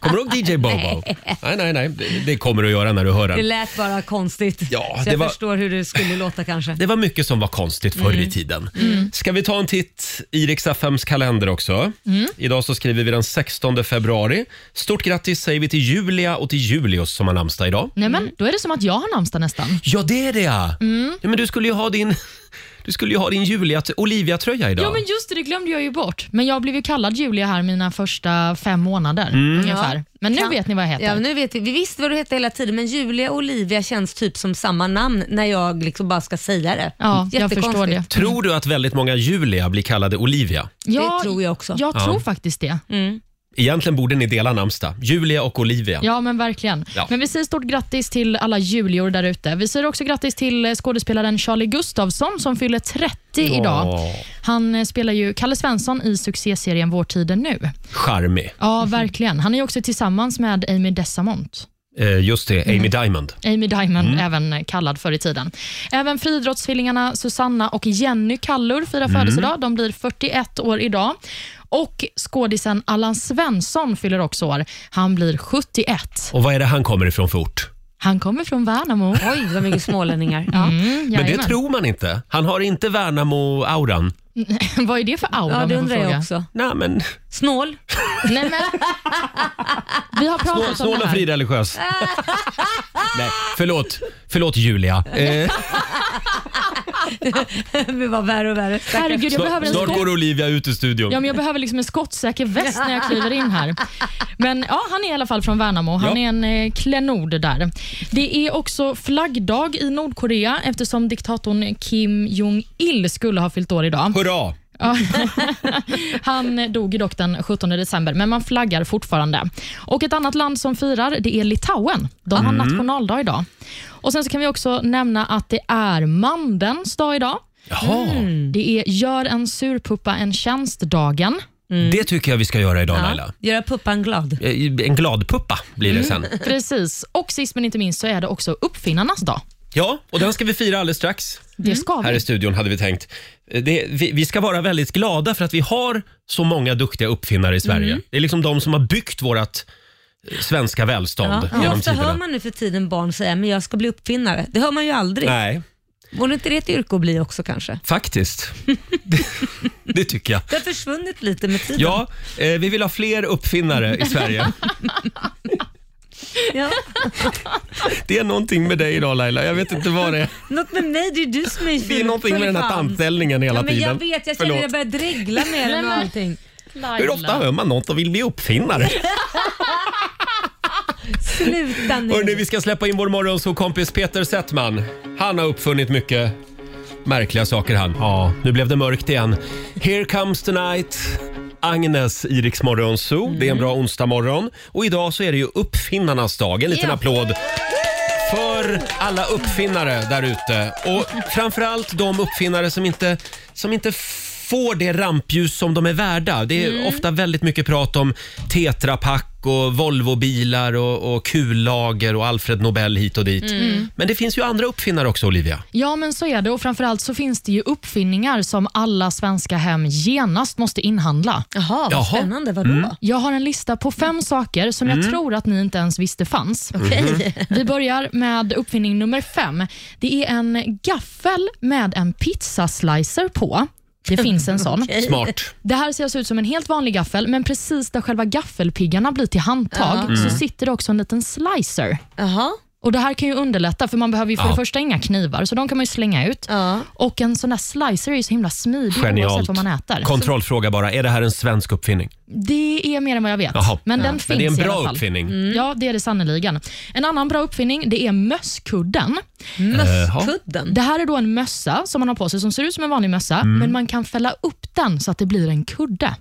A: Kommer du ihåg DJ Bobo? Nej, nej, nej. Det, det kommer du att göra när du hör
B: Det
A: den.
B: lät bara konstigt.
A: Ja,
B: så
A: det
B: jag
A: var-
B: förstår hur det skulle låta kanske.
A: Det var mycket som var konstigt förr
C: Mm.
A: i tiden. Ska vi ta en titt i Rix FMs kalender också?
C: Mm.
A: Idag så skriver vi den 16 februari. Stort grattis säger vi till Julia och till Julius som har namnsdag idag.
C: Nej, men då är det som att jag har namnsdag nästan.
A: Ja, det är det ja.
C: Mm.
A: ja men du skulle ju ha din, du skulle ju ha din Julia, Olivia-tröja idag.
C: Ja, men just det, det glömde jag ju bort. Men jag blev ju kallad Julia här mina första fem månader ungefär. Men nu
B: Kan-
C: vet ni vad jag heter.
B: Ja, men nu vet vi. vi visste vad du hette hela tiden men Julia och Olivia känns typ som samma namn när jag liksom bara ska säga det.
C: Ja, jag
B: Jättekonstigt.
C: förstår det.
A: Tror du att väldigt många Julia blir kallade Olivia?
C: Ja,
B: tror jag också.
C: Jag Mm. tror faktiskt det.
A: Egentligen borde ni dela namnsdag. Julia och Olivia.
C: Ja, men verkligen.
A: Ja.
C: Men vi säger stort grattis till alla Julior där ute. Vi säger också grattis till eh, skådespelaren Charlie Gustafsson som fyller 30 idag.
A: Åh,
C: Han eh, spelar ju Kalle Svensson i succéserien Vår tid är nu.
A: charmig.
C: Ja, verkligen. Han är ju också tillsammans med Amy Desamont.
A: Eh, just det,
C: Mm.
A: Amy Diamond.
C: Amy Diamond,
A: Mm.
C: även kallad förr i tiden. Även friidrottstvillingarna Susanna och Jenny Kallur firar
A: Mm.
C: födelsedag. De blir 41 år idag. Och skådisen Allan Svensson fyller också år. Han blir 71.
A: Och vad är det han kommer ifrån för ort?
C: Han kommer från Värnamo.
B: Oj, vad mycket smålänningar. Ja.
C: Mm,
A: Men det
C: jajamän.
A: tror man inte. Han har inte Värnamo-auran.
C: Vad är det för aura?
B: Ja,
C: om
B: det
C: jag får
B: undrar jag
C: fråga?
B: också.
A: Nej, men
B: Snål?
C: Nej, men... Vi har pratat
A: snål, snål
C: om det
A: och
C: här.
A: frireligiös. Nej, förlåt. Förlåt Julia. Eh,
B: det var värre och värre. Stackars.
C: Herregud, jag behöver
A: snart,
C: en
A: snart
C: skott.
A: går Olivia ut ur studion.
C: Ja, men jag behöver liksom en skottsäker väst när jag kliver in här. Men ja, han är i alla fall från Värnamo. Han
A: Ja.
C: är en eh, klenod där. Det är också flaggdag i Nordkorea eftersom diktatorn Kim Jong-Il skulle ha fyllt år idag.
A: Hurra!
C: Ja. Han eh, dog ju dock den 17 december, men man flaggar fortfarande. Och Ett annat land som firar det är Litauen. De har nationaldag idag. Och Sen så kan vi också nämna att det är mandelns dag idag.
A: Jaha,
C: Det är gör en surpuppa en tjänst-dagen.
A: det tycker jag vi ska göra idag Laila.
B: Göra puppan glad.
A: Eh, En glad puppa blir det
C: Mm.
A: sen.
C: Precis. Och sist men inte minst så är det också uppfinnarnas dag.
A: Ja, och den ska vi fira alldeles strax.
C: Det ska
A: Här i
C: vi.
A: studion hade vi tänkt. Eh, Det, vi, vi ska vara väldigt glada för att vi har så många duktiga uppfinnare i Sverige.
B: Mm.
A: Det är liksom de som har byggt vårt svenska välstånd
B: Ja. Hur
A: genom
B: ofta
A: tiderna.
B: hör man nu för tiden barn säga men jag ska bli uppfinnare? Det hör man ju aldrig.
A: Nej,
B: Vore inte det ett yrke att bli också kanske?
A: faktiskt. det tycker jag.
B: Det har försvunnit lite med tiden.
A: Ja, eh, vi vill ha fler uppfinnare i Sverige.
B: Ja.
A: Det är någonting med dig idag Laila, jag vet inte vad det är.
B: Något med mig, det är ju du som är
A: Det är någonting med den här tandställningen hela
B: ja, men
A: tiden.
B: Jag vet, jag känner att jag börjar dregla med den och
C: men-
B: allting.
A: Hur ofta hör man något och vill bli uppfinnare?
B: Sluta nu.
A: Hörrni, vi ska släppa in vår morgonsåkompis Peter Settman. Han har uppfunnit mycket märkliga saker han. Ja, nu blev det mörkt igen. Here comes the night. Agnes i Rix Morgon Zoo. Det är en bra onsdag morgon. Och idag så är det ju uppfinnarnas dag. En liten
C: Ja.
A: applåd för alla uppfinnare där ute. Och framförallt de uppfinnare som inte, som inte får det rampljus som de är värda. Det är ofta väldigt mycket prat om tetrapack och Volvobilar och, och kullager och Alfred Nobel hit och dit. Men det finns ju andra uppfinnare också, Olivia.
C: Ja, men så är det. Och framförallt så finns det ju uppfinningar som alla svenska hem genast måste inhandla.
B: Jaha,
A: Jaha. Mm.
B: vad spännande. Vadå?
C: Jag har en lista på fem saker som jag tror att ni inte ens visste fanns. Mm.
B: Okej.
C: Vi börjar med uppfinning nummer fem. Det är en gaffel med en pizzaslicer på. Det finns en sån.
A: Smart.
C: Det här ser alltså ut som en helt vanlig gaffel, men precis där själva gaffelpiggarna blir till handtag så
A: Mm.
C: sitter det också en liten slicer.
B: Jaha.
C: Och Det här kan ju underlätta, för man behöver ju för
A: Ja.
C: det första inga knivar, så de kan man ju slänga ut.
B: Ja.
A: Eh,
C: Och En sån där slicer är ju så himla smidig
A: Genialt.
C: oavsett vad man äter.
A: Kontrollfråga bara. Är det här en svensk uppfinning?
C: Det är mer än vad jag vet,
A: Jaha.
C: men den
A: Men
C: finns
A: det är en
C: i alla
A: bra
C: fall. Mm.
A: uppfinning.
C: Ja, det är det sannerligen. En annan bra uppfinning det är mösskudden.
B: Mösskudden.
C: Det här är då en mössa som man har på sig som ser ut som en vanlig mössa,
A: Mm.
C: men man kan fälla upp den så att det blir en kudde.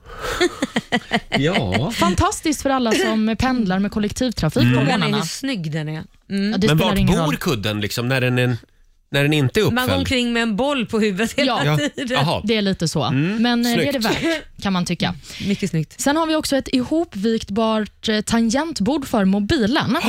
A: Ja.
C: Fantastiskt för alla som pendlar med kollektivtrafik på
B: Frågan är hur
C: morgnarna.
B: snygg den är.
C: Ja, det
A: Mm. Men
C: spelar
A: vart
C: ingen
A: bor
C: roll.
A: kudden liksom när den, är, när den inte är
B: Man går
A: uppfälld?
B: omkring med en boll på huvudet hela
C: Ja.
B: tiden.
A: Jaha.
C: Det är lite så, men eh, det är det
A: Mm. Snyggt.
C: värt kan man tycka.
B: Mycket snyggt.
C: Sen har vi också ett ihopviktbart eh, tangentbord för mobilen.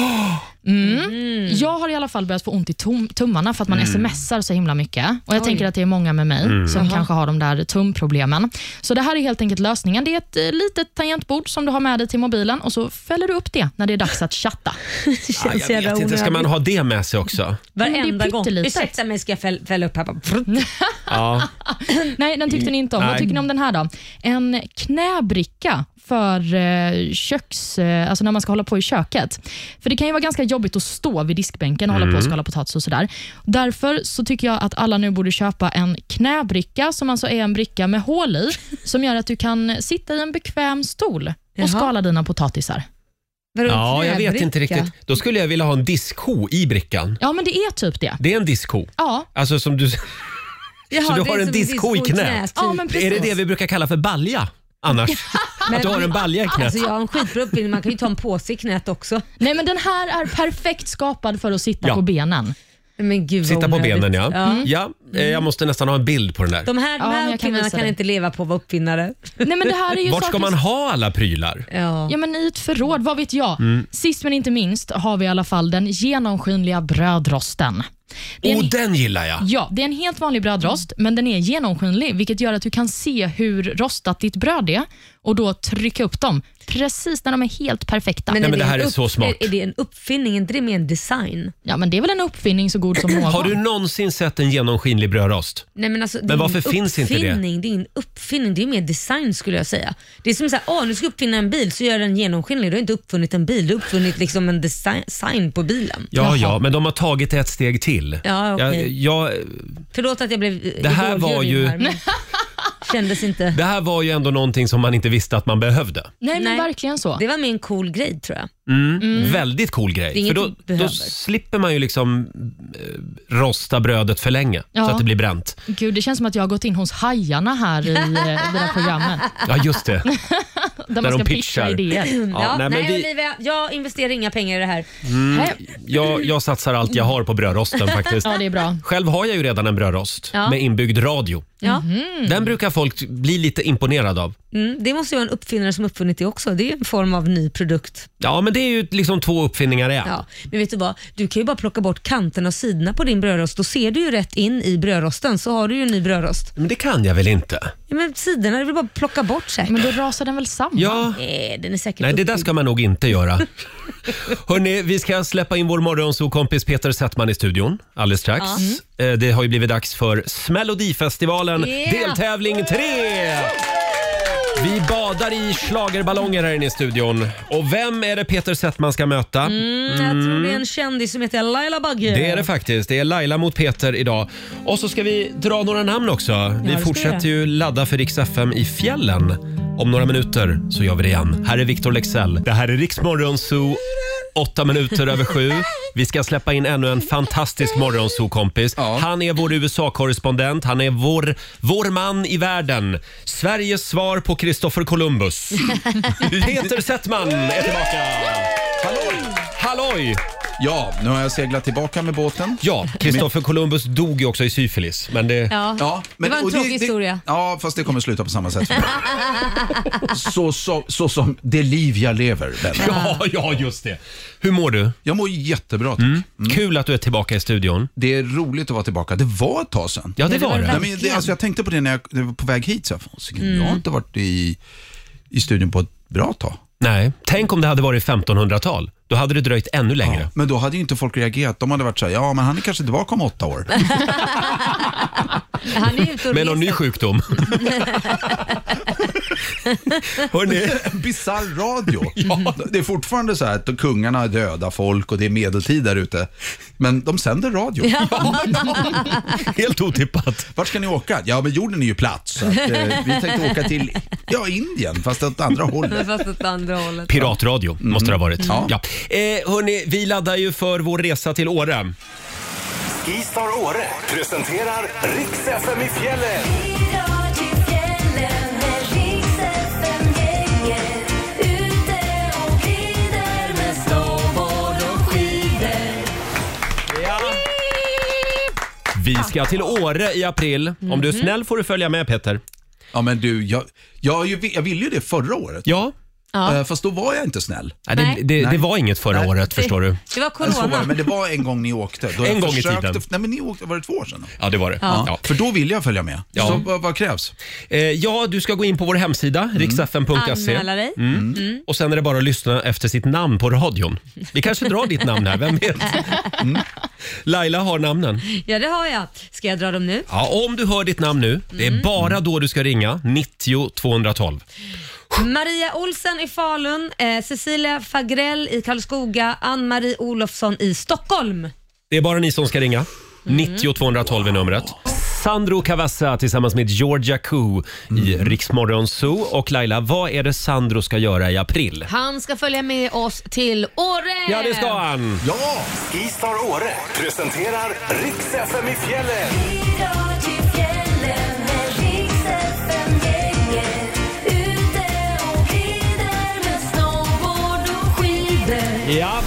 C: Mm. Jag har i alla fall börjat få ont i tum- tummarna för att man smsar så himla mycket. Och Jag tänker att det är många med mig som kanske har de där tumproblemen. Så det här är helt enkelt lösningen. Det är ett eh, litet tangentbord som du har med dig till mobilen och så fäller du upp det när det är dags att chatta.
B: Det
A: Ah,
B: känns
A: jag vet inte, ska man ha det med sig också?
C: Men det
B: Varenda
C: är
B: gång.
C: pyttelitet.
B: Ursäkta mig, ska jag fäll, fälla upp här? bara, prutt.
A: Ja.
C: Nej, den tyckte ni inte om.
A: Nej.
C: Vad tycker ni om den här då? En knäbricka för eh, köks, eh, alltså när man ska hålla på i köket. För Det kan ju vara ganska jobbigt att stå vid diskbänken och hålla
A: Mm.
C: på och skala potatis och sådär. Därför så tycker jag att alla nu borde köpa en knäbricka som alltså är en bricka med hål i som gör att du kan sitta i en bekväm stol och
B: Jaha.
C: skala dina potatisar.
B: Vadå,
A: ja, jag vet inte
B: knäbricka?
A: riktigt. Då skulle jag vilja ha en diskho i brickan.
C: Ja, men det är typ det.
A: Det är en diskho.
C: Ja,
A: Alltså som du...
B: Jaha,
A: Så du
B: det
A: har
B: är
A: en
B: som
A: diskho i knät?
B: typ.
C: Ja, men
A: Är det det vi brukar kalla för balja annars? Att du har en balja i knät?
B: Alltså jag har en skitbra uppfinning, man kan ju ta en påse i knät också.
C: Nej, men den här är perfekt skapad för att sitta
A: Ja.
C: på benen.
B: Men gud vad
A: Sitta på
B: onödigt.
A: benen ja.
B: Ja.
A: ja. eh, Jag måste nästan ha en bild på den där.
B: De här, de
C: Mm. Ja, men
B: här
C: jag kan
B: uppfinnarna
C: visa
B: kan
C: dig.
B: inte leva på att vara uppfinnare.
C: Nej, men det här är ju
A: Vart ska
C: saker
A: man ha alla prylar?
B: Ja.
C: Ja, men I ett förråd, vad vet jag.
A: Mm.
C: Sist men inte minst har vi i alla fall den genomskinliga brödrosten. Det är en,
A: Oh, den gillar jag!
C: ja, det är en helt vanlig brödrost, men den är genomskinlig, vilket gör att du kan se hur rostat ditt bröd är och då trycka upp dem precis när de är helt perfekta.
A: Nej,
B: är
A: men det
B: en
A: här är
B: upp-
A: så smart.
B: Är, är det en uppfinning, är inte det mer en design?
C: ja, men det är väl en uppfinning så god som någon.
A: Har du någonsin sett en genomskinlig brödrost?
B: Nej, men alltså, det
A: Men
B: är en
A: varför finns inte det?
B: uppfinning, Det är en uppfinning, det är mer design skulle jag säga. Det är som såhär, åh nu ska jag uppfinna en bil, så gör jag den genomskinlig. Du har inte uppfunnit en bil, du har uppfunnit liksom en design sign på bilen.
A: Ja,
C: Jaha.
A: ja, men de har tagit det ett steg till.
B: Ja, okej.
A: jag, jag,
B: Förlåt att jag blev eh,
A: Det här var ju-
B: Här, men kändes inte.
A: det här var ju ändå någonting som man inte visste att man behövde.
C: Nej, men
B: Nej.
C: verkligen så.
B: Det var mer en cool grej tror jag.
A: Väldigt cool grej.
B: Mm. Det är
A: För
B: inget
A: då,
B: du behöver.
A: då slipper man ju liksom eh, rosta brödet för länge så
C: Ja.
A: att det blir bränt.
C: Gud, det känns som att jag har gått in hos hajarna här i eh, det där programmet.
A: Ja, just det.
C: Där
A: de
C: man ska
A: pitchar.
C: pitcha idéer.
B: Ja,
A: nej,
B: nej,
A: men vi-
B: Olivia, jag investerar inga pengar i det här.
C: Nej.
A: Jag, jag satsar allt jag har på brödrosten faktiskt.
C: Ja, det är bra.
A: Själv har jag ju redan en brödrost
B: Ja. Mm.
A: med inbyggd radio.
B: Ja.
A: Den brukar folk bli lite imponerade av.
B: Mm, det måste ju vara en uppfinnare som uppfunnit det också. Det är ju en form av ny produkt.
A: Ja, men det är ju liksom två uppfinningar i en.
B: Ja. Men vet du vad? Du kan ju bara plocka bort kanterna och sidorna på din brödrost. Då ser du ju rätt in i brödrosten, så har du ju en ny brödrost.
A: Men det kan jag väl inte?
B: Ja, men sidorna, det vill bara att plocka bort säkert.
C: Men då rasar den väl samman?
A: Ja.
B: Nej, den är säkert
A: Nej, det där
B: uppbyggd.
A: ska man nog inte göra. Hörni, vi ska släppa in vår morgonsokompis Peter Settman i studion alldeles strax. Eh, Det har ju blivit dags för Smelodifestivalen
B: Yeah.
A: deltävling 3! Vi badar i schlagerballonger här inne i studion. Och vem är det Peter Settman ska möta?
B: Mm. Jag tror det är en kändis som heter Laila Bagge.
A: Det är det faktiskt. Det är Laila mot Peter idag. Och så ska vi dra några namn också. Vi
B: det ska
A: fortsätter
B: vi
A: ju ladda för Rix FM i fjällen. Om några minuter så gör vi det igen. Här är Victor Lexell. Det här är Rix Morgonzoo. Åtta minuter över sju. Vi ska släppa in ännu en fantastisk morgonsokompis. Han är vår USA-korrespondent. Han är vår, vår man i världen. Sveriges svar på Christopher Columbus. Peter Settman är tillbaka. Halloj!
G: Ja, nu har jag seglat tillbaka med båten.
A: Ja, Kristoffer Columbus dog ju också i syfilis. Men det,
B: Ja.
G: Ja,
B: det var en
G: och
B: tråkig historia.
G: Ja, fast det kommer sluta på samma sätt. för mig. så, så, så som det liv jag lever, vänner.
A: ja, ja, just det. Hur mår du?
G: Jag mår jättebra, tack.
B: Mm.
A: Kul att du är tillbaka i studion.
G: Det är roligt att vara tillbaka. Det var ett tag sedan.
A: Ja, det var
G: Nej,
A: det.
G: men det,
B: Verkligen. Mm.
G: alltså jag tänkte på det när jag när jag var på väg hit. Så jag, fan, Sigge, jag har inte varit i, i studion på ett bra tag.
A: Nej, tänk om det hade varit 1500-tal. Då hade det dröjt ännu längre.
G: Men då hade ju inte folk reagerat. De hade varit så här, ja men han är kanske tillbaka om åtta år.
B: Han är ute och
A: Med någon ny
B: reser.
A: sjukdom. Hörrni,
G: Bisarr radio. Det är fortfarande så här att kungarna är döda folk och det är medeltid där ute. Men de sänder radio.
A: helt otippat.
G: Vart ska ni åka? Ja, men jorden är ju platt. Så att, eh, vi tänkte åka till ja, Indien, fast åt andra hållet.
B: Fast åt andra hållet.
A: Piratradio måste det ha varit.
G: Ja.
A: Ja. Eh, hörni, vi laddar ju för vår resa till Åre.
D: Skistar Åre presenterar Riks FM i fjällen.
A: Vi ska till Åre i april. Om
B: Mhm.
A: du är snäll får du följa med Peter.
G: Ja, men du, jag, jag, har ju- jag ville ju det förra året.
A: Ja.
G: Eh, Fast då var jag inte snäll.
A: Nej, det,
B: Nej.
A: det, det var inget förra
G: Nej.
A: året förstår du.
B: Det var
G: Eller Så var
B: corona.
G: det, men det var en gång ni åkte. Då jag
A: En gång i
G: försökte-
A: tiden.
G: Nej, men ni åkte, var det två år sedan? då?
A: Ja, det var det. Ja.
G: För då ville jag följa med.
A: Ja.
G: Så vad, vad krävs?
A: Eh, ja, du ska gå in på vår hemsida, riksfn.se.
B: Anmäla dig.
A: Och sen är det bara att lyssna efter sitt namn på radion. Vi kanske drar ditt namn här, vem vet? Mm. Laila har namnen.
B: Ja, det har jag. Ska jag dra dem nu?
A: Ja, om du hör ditt namn nu, det är bara då du ska ringa 90 212.
B: Maria Olsen i Falun, eh, Cecilia Fagrell i Karlskoga, Ann-Marie Olofsson i Stockholm.
A: Det är bara ni som ska ringa. 90 212 är numret. Sandro Cavazza tillsammans med Georgia Koo i Riksmorgon Zoo. Och Laila, vad är det Sandro ska göra i april?
B: Han ska följa med oss till Åre!
A: Ja, det ska han!
G: Ja!
D: Skistar Åre presenterar Riks FM i fjällen.
A: Ja.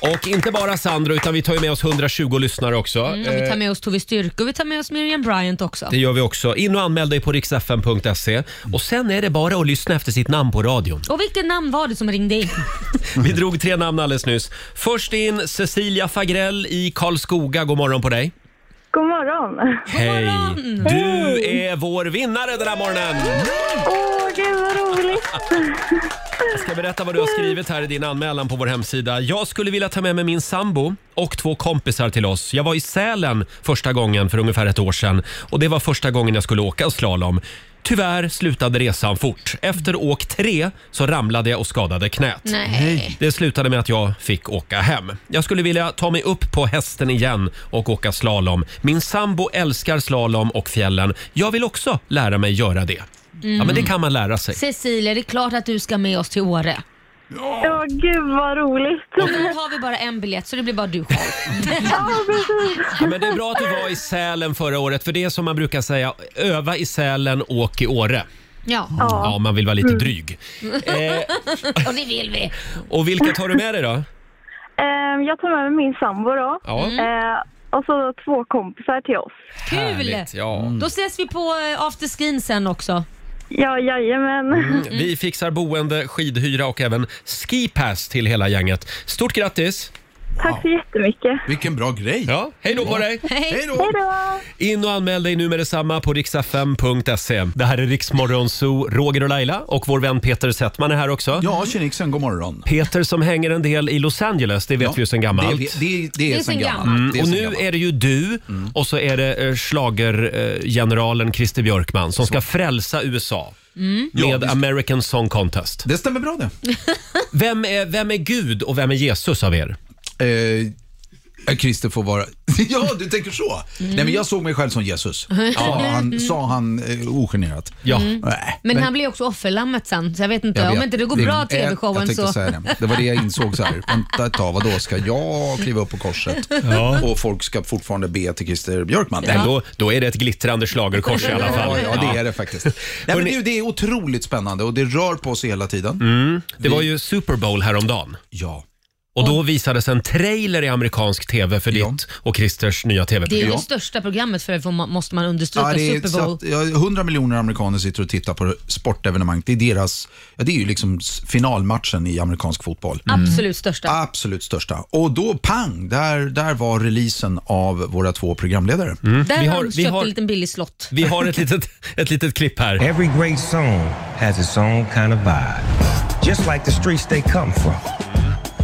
A: Och inte bara Sandro, utan vi tar ju med oss 120 lyssnare också. Eh,
B: Mm, Vi tar med oss Tove Styrke och vi tar med oss Miriam Bryant också.
A: Det gör vi också. In och anmäl dig på riksfn.se. Och sen är det bara att lyssna efter sitt namn på radion.
B: Och vilket namn var det som ringde in?
A: Vi drog tre namn alldeles nyss. Först in Cecilia Fagrell i Karlskoga. God morgon på dig.
E: God morgon.
A: Hej! Du är vår vinnare den här morgonen!
E: Åh, gud vad roligt.
A: Jag ska berätta vad du har skrivit här i din anmälan på vår hemsida. Jag skulle vilja ta med mig min sambo och två kompisar till oss. Jag var i Sälen första gången för ungefär ett år sedan och det var första gången jag skulle åka slalom. Tyvärr slutade resan fort. Efter åk tre så ramlade jag och skadade knät.
B: Nej.
A: Det slutade med att jag fick åka hem. Jag skulle vilja ta mig upp på hästen igen och åka slalom. Min sambo älskar slalom och fjällen. Jag vill också lära mig göra det. Ja, men det kan man lära sig.
B: Cecilia, det är klart att du ska med oss till Åre.
E: Åh, gud vad roligt.
B: Och nu har vi bara en biljett så det blir bara du själv.
A: Ja, men det är bra att du var i Sälen förra året, för det är som man brukar säga, öva i Sälen, åk i Åre.
B: Ja,
A: Ja, man vill vara lite dryg.
B: och det vill vi.
A: Och vilka tar du med dig då?
E: Ehm, jag tar med mig min sambo då.
A: Ja. Mm.
E: Eh, och så två kompisar till oss.
B: Kul! Mm.
A: Härligt, ja.
B: Då ses vi på eh, afterskin sen också.
E: Ja, jajamän.
A: Vi fixar boende, skidhyra och även skipass till hela gänget. Stort grattis!
E: Tack så jättemycket.
G: Vilken bra grej.
A: Ja, hej då på dig!
G: Hej då!
E: Hej då!
A: In och anmäl dig nu med detsamma på riksfm.se. Det här är Riksmorgon Zoo, Roger och Laila och vår vän Peter Settman är här också.
G: Ja, Kinnixen, god morgon.
A: Peter som hänger en del i Los Angeles, det vet vi ju sedan gammalt.
G: Det, det, det är sen gammalt. Det är
A: Mm.
G: Mm.
A: Och
G: sen
A: nu
G: gammalt.
A: är det ju du och så är det eh, schlagergeneralen Christer Björkman som ska frälsa USA
G: Mm. Ja,
A: med
G: vi ska-
A: American Song Contest.
G: Det stämmer bra det.
A: Vem är, vem är Gud och vem är Jesus av er?
G: Eh, eh, Christer får vara... ja, du tänker så? Nej, men jag såg mig själv som Jesus. Ja, han, sa han eh, ogenerat.
A: Ja.
G: Nej.
H: Men, han blir också offerlammet sen, så jag vet inte.
G: jag
H: om
G: vet.
H: inte det går bra,
G: är- jag
H: TV-showen,
G: tänkte
H: så...
G: Säga det. det var det jag insåg så här. Vänta ett tag, vadå, ska jag kliva upp på korset? Och folk ska fortfarande be till Christer Björkman?
A: Nej, Då, då är det ett glittrande schlagerkors i alla fall.
G: Ja, ja, det är det faktiskt. Nej, men det, det är otroligt spännande och det rör på sig hela tiden.
A: Det var ju Super Bowl häromdagen.
G: Ja.
A: Och då visades en trailer i amerikansk tv för
G: Ja.
A: ditt och Christers nya
H: Det är
A: tv-program.
H: ju
G: Ja.
H: det största programmet för det, får man- måste man understryka.
G: Ja, det är,
H: Super Bowl.
G: så att, ja, 100 miljoner amerikaner sitter och tittar på sportevenemang. Det är deras, ja, det är ju liksom s- finalmatchen i amerikansk fotboll.
H: Absolut största.
G: Absolut största. Och då pang, där, där var releasen av våra två programledare.
B: Mm.
H: Där
A: Vi
H: har
A: har-
H: de
A: vi
H: köpt
A: har-
H: en liten billig slott.
A: Vi har ett litet, ett litet klipp här.
I: Every great song has its own kind of vibe, just like the streets they come from.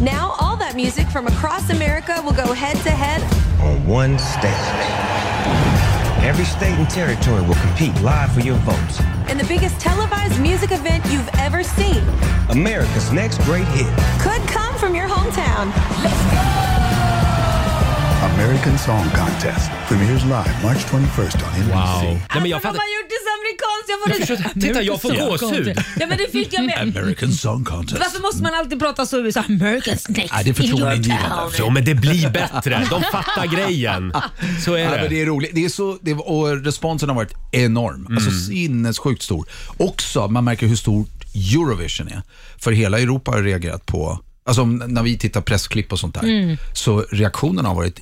J: Now, all that music from across America will go head to head.
I: On one stage, every state and territory will compete live for your votes.
J: in the biggest televised music event you've ever seen
I: America's next great hit.
J: could come from your hometown.
F: American Song Contest premieres live March 21st on NBC.
A: Wow. Nej, men jag
H: alltså, de
A: fattar.
H: har gjort det så amerikanskt! Jag får det-
A: försökte- titta, jag får
H: American
A: gåshud.
H: Song Contest. Ja, men det fick jag med.
G: American Song Contest.
H: Varför måste man alltid prata så USA? America's next
G: Ja, det är
H: in your town.
G: förtroendeingivande.
A: Ja, men det blir bättre. De fattar grejen. Så
G: Ja,
A: är
G: men det
A: det.
G: är roligt. Det är så, det, och responsen har varit enorm. Alltså sinnessjukt stor. Också, man märker hur stort Eurovision är. För hela Europa har reagerat på, alltså om- när vi tittar pressklipp och sånt där, så reaktionerna har varit,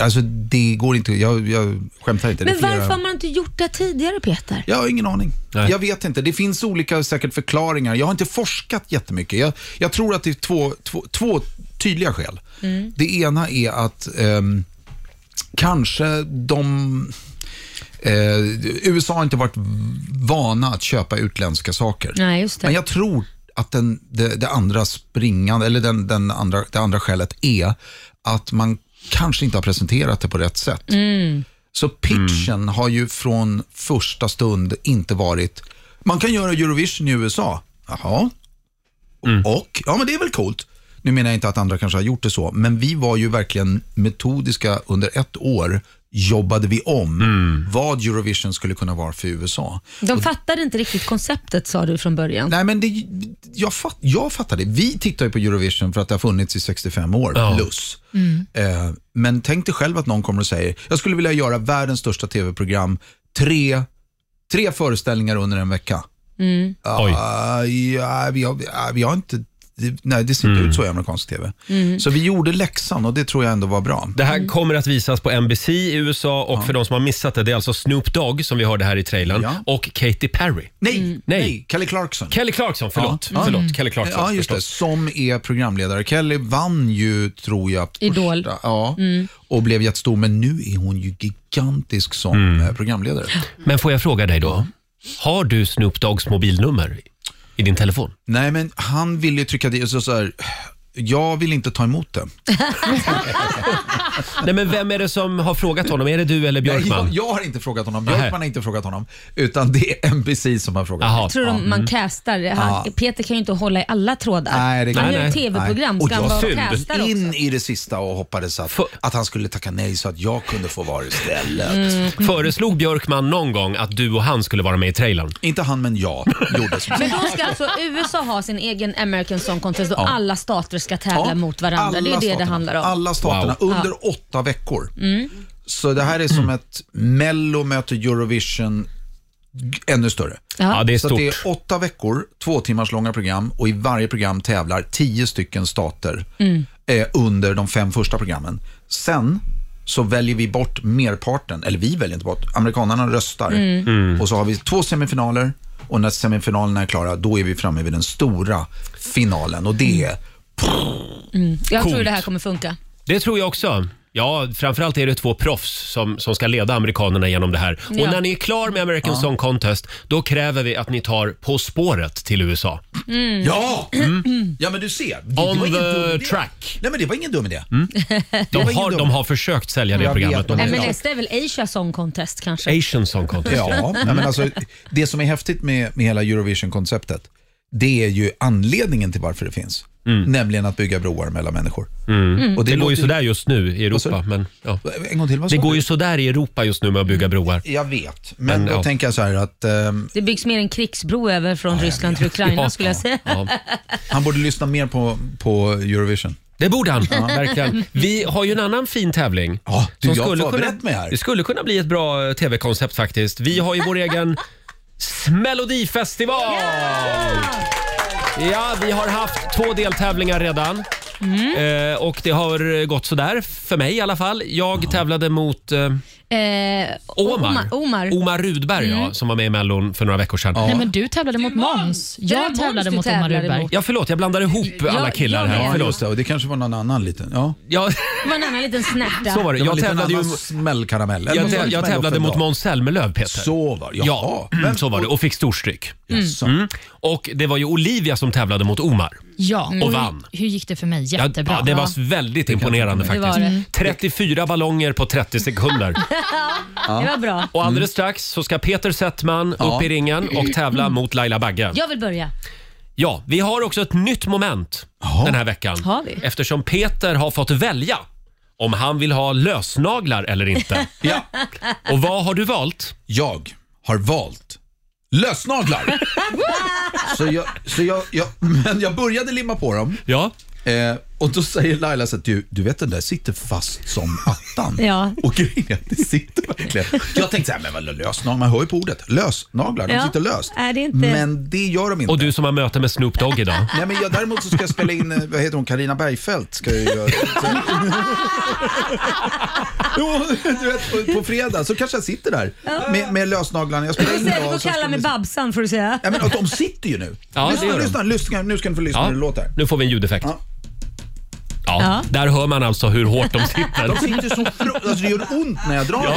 G: alltså det går inte, jag, jag skämtar inte. Det är
H: Men
G: flera-
H: varför har man inte gjort det tidigare, Peter?
G: jag har ingen aning.
A: Nej.
G: Jag vet inte. Det finns olika säkert förklaringar. Jag har inte forskat jättemycket. Jag, jag tror att det är två, två, två tydliga skäl.
A: Mm.
G: Det ena är att ehm, kanske de... Eh, USA har inte varit vana att köpa utländska saker.
H: Nej, just det.
G: Men jag tror att den, det, det andra springande, eller den, den andra, det andra skälet är att man kanske inte har presenterat det på rätt sätt.
H: Mm.
G: Så pitchen har ju från första stund inte varit, man kan göra Eurovision i USA. Jaha. Och, ja men det är väl coolt. Nu menar jag inte att andra kanske har gjort det så, men vi var ju verkligen metodiska under ett år jobbade vi om vad Eurovision skulle kunna vara för USA.
H: De fattade inte riktigt konceptet, sa du från början.
G: Nej, men det, jag, fatt, jag fattar det. Vi tittar ju på Eurovision för att det har funnits i 65 år
A: Ja.
G: plus. Eh, men tänk dig själv att någon kommer och säger, jag skulle vilja göra världens största tv-program, tre, tre föreställningar under en vecka. Ah,
A: Oj.
G: ja, vi, har, ah, vi har inte, det- nej det ser inte ut så i amerikansk tv. Så vi gjorde läxan och det tror jag ändå var bra.
A: Det här kommer att visas på NBC i USA och för de som har missat det, det är alltså Snoop Dogg som vi hörde här i trailern
G: Ja.
A: och Katy Perry.
G: Nej, nej.
A: Nej.
G: Kelly Clarkson.
A: Kelly Clarkson, förlåt.
G: Ja. Mm.
A: Förlåt, Kelly Clarkson.
G: Ja, just det.
A: förstås.
G: Som är programledare. Kelly vann ju, tror jag, första,
H: Idol. Mm.
G: Ja, och blev jättestor. Men nu är hon ju gigantisk som
A: Mm.
G: eh, programledare.
A: Men får jag fråga dig då? Har du Snoop Doggs mobilnummer i din telefon?
G: Nej, men han vill ju trycka dit, så, så här, jag vill inte ta emot det.
A: Nej, men vem är det som har frågat honom? Är det du eller
G: Ah. Nej,
A: Björkman?
G: jag, jag har inte frågat honom,
A: Nej.
G: Björkman har inte frågat honom, utan det är NBC som har frågat.
A: Jaha.
H: Tror de man castar? Han, Peter kan ju inte hålla i alla trådar.
G: Mm. Nej, det kan-
H: han gör
A: Nej,
H: ett
A: nej.
H: tv-program, ska han
G: Och
H: vara
G: jag
H: castar
G: sund
H: också?
G: in i det sista och hoppades att,
A: För-
G: att han skulle tacka nej så att jag kunde få vara istället.
H: Mm.
A: Föreslog Björkman någon gång att du och han skulle vara med i trailern?
G: Inte han, men jag gjorde som
H: Men då ska alltså USA ha sin egen American Song Contest och alla stater ska tävla
G: Ja,
H: mot varandra.
G: alla
H: Det är det det
G: staterna.
H: handlar om. Mm.
G: Alla staterna under åtta veckor. Så det här är som ett Mello möter Eurovision g- ännu större.
A: Ja, det är
G: Så att
A: stort.
G: det är åtta veckor, två timmars långa program och i varje program tävlar tio stycken stater
H: Mm.
G: eh, under de fem första programmen. Sen så väljer vi bort merparten, eller vi väljer inte bort, amerikanarna röstar.
H: Mm.
G: Och så har vi två semifinaler och när semifinalerna är klara, då är vi framme vid den stora finalen och det är
B: Mm. Jag tror
A: Coolt.
B: det här kommer funka.
A: Det tror jag också. Ja, framförallt är det två proffs som, som ska leda amerikanerna genom det här. Och
B: Ja.
A: när ni är klar med American Song Contest, då kräver vi att ni tar På spåret till USA.
B: Mm.
G: Ja! mm. Ja, men du ser. Det,
A: On
G: det var ingen
A: the
G: dum idé.
A: track. Mm.
G: Nej, men det var ingen dum idé. var
A: De
G: ingen
A: har,
G: dum
A: de har försökt sälja det
G: Jag vet,
A: programmet. De
B: Nej,
A: är
B: men
A: bra.
B: nästa är väl Asia Song Contest kanske?
A: Asian Song Contest.
G: Ja, nej, men alltså, det som är häftigt med, med hela Eurovision-konceptet, det är ju anledningen till varför det finns. Nämligen att bygga broar mellan människor.
A: Mm.
G: Och
A: det,
G: det
A: går ju
G: låter-
A: sådär just nu i
G: Vad sa
A: Europa.
G: du?
A: Men, ja.
G: En gång till, vad
A: Det
G: sa
A: går
G: du?
A: ju sådär i Europa just nu med att bygga broar.
G: Jag vet, men,
A: Men,
G: då
A: ja.
G: tänker jag så här att ehm,
B: Det byggs mer en krigsbro över från Ryssland till Ukraina skulle jag säga.
G: han borde lyssna mer på, på Eurovision.
A: Det borde han, verkligen. Vi har ju en annan fin tävling.
G: Ja, du,
A: som
G: jag har
A: skulle
G: förberett
A: kunna,
G: mig här.
A: Det skulle kunna bli ett bra eh, tv-koncept faktiskt. Vi har ju vår egen Melodifestival! Ja, vi har haft två deltävlingar redan.
G: Mm.
A: Eh, och det har eh, gått sådär, för mig i alla fall. Jag tävlade mot eh,
B: Eh,
A: Omar.
B: Omar.
A: Omar Rudberg
G: Mm.
A: ja, som var med i Mellon för några veckor sedan.
C: Nej, men du tävlade mot Måns.
B: Det var
C: Jag
B: Måns
C: tävlade
B: du
C: mot Omar
B: tävlade
C: Rudberg.
B: mot.
A: Ja, förlåt, jag blandar ihop alla
B: jag
A: killar här.
B: med.
A: Förlåt.
G: Just det, och det kanske var någon annan liten. Ja.
A: Ja,
B: Det var en annan liten snärta.
A: så var det.
G: Det var
A: Jag
G: en liten
A: tävlade, ju,
G: annan smällkaramell. Eller
A: jag,
G: någon
A: tä- jag
G: smäll
A: tävlade
G: också
A: mot
G: idag.
A: Måns Zelmerlöw, Peter.
G: Så var det,
A: Ja, mm,
G: jaha. Men-
A: så var det och Mm. fick storstryk.
G: Jaså.
A: Och det var ju Olivia som tävlade mot Omar.
C: Ja.
A: Mm. Och vann.
C: Hur gick det för mig?
A: Ja,
C: Jättebra.
A: ja, det var väldigt imponerande
B: Det
A: faktiskt.
B: var det.
A: 34 ballonger på 30 sekunder.
B: Det var bra.
G: Mm.
A: Och alldeles strax så ska Peter Settman upp i ringen och tävla
B: Mm.
A: mot Laila Bagge.
B: Jag vill börja.
A: Ja, vi har också ett nytt moment den här veckan.
B: Har vi?
A: Eftersom Peter har fått välja om han vill ha lösnaglar eller inte.
G: Ja,
A: Och vad har du valt?
G: jag har valt lösnaglar. så jag, så jag, jag, men jag började limma på dem.
A: Ja.
G: Eh, och då säger Laila så att du, du vet den där sitter fast som attan.
B: Ja.
G: Och grejen är att det sitter verkligen. Jag tänkte så här, men vadå lösnaglar? Man hör ju på ordet. Lösnaglar, de
B: Ja.
G: sitter löst.
B: Är det inte-
G: Men det gör de inte.
A: Och du som har möte med Snoop Dogg idag.
G: Nej, men jag, däremot så ska jag spela in, eh, vad heter hon, Carina Bergfeldt ska jag ju göra. Så- Jo, du vet, på, på fredag så kanske jag sitter där med, med lösnaglarna. Jag spelar in
B: Du får
G: så ska
B: kalla mig
G: vi-
B: Babsan får du säga.
G: Ja, men, och de sitter ju nu.
A: Ja, det gör
G: lyssna,
A: de.
G: lyssna, lyssna, nu ska ni få lyssna hur det låter.
A: Nu får vi en ljudeffekt. Ja.
G: Ja.
B: Ja.
A: Där hör man alltså hur hårt de sitter.
G: De sitter så fru- alltså, det gör ont när jag drar i dem.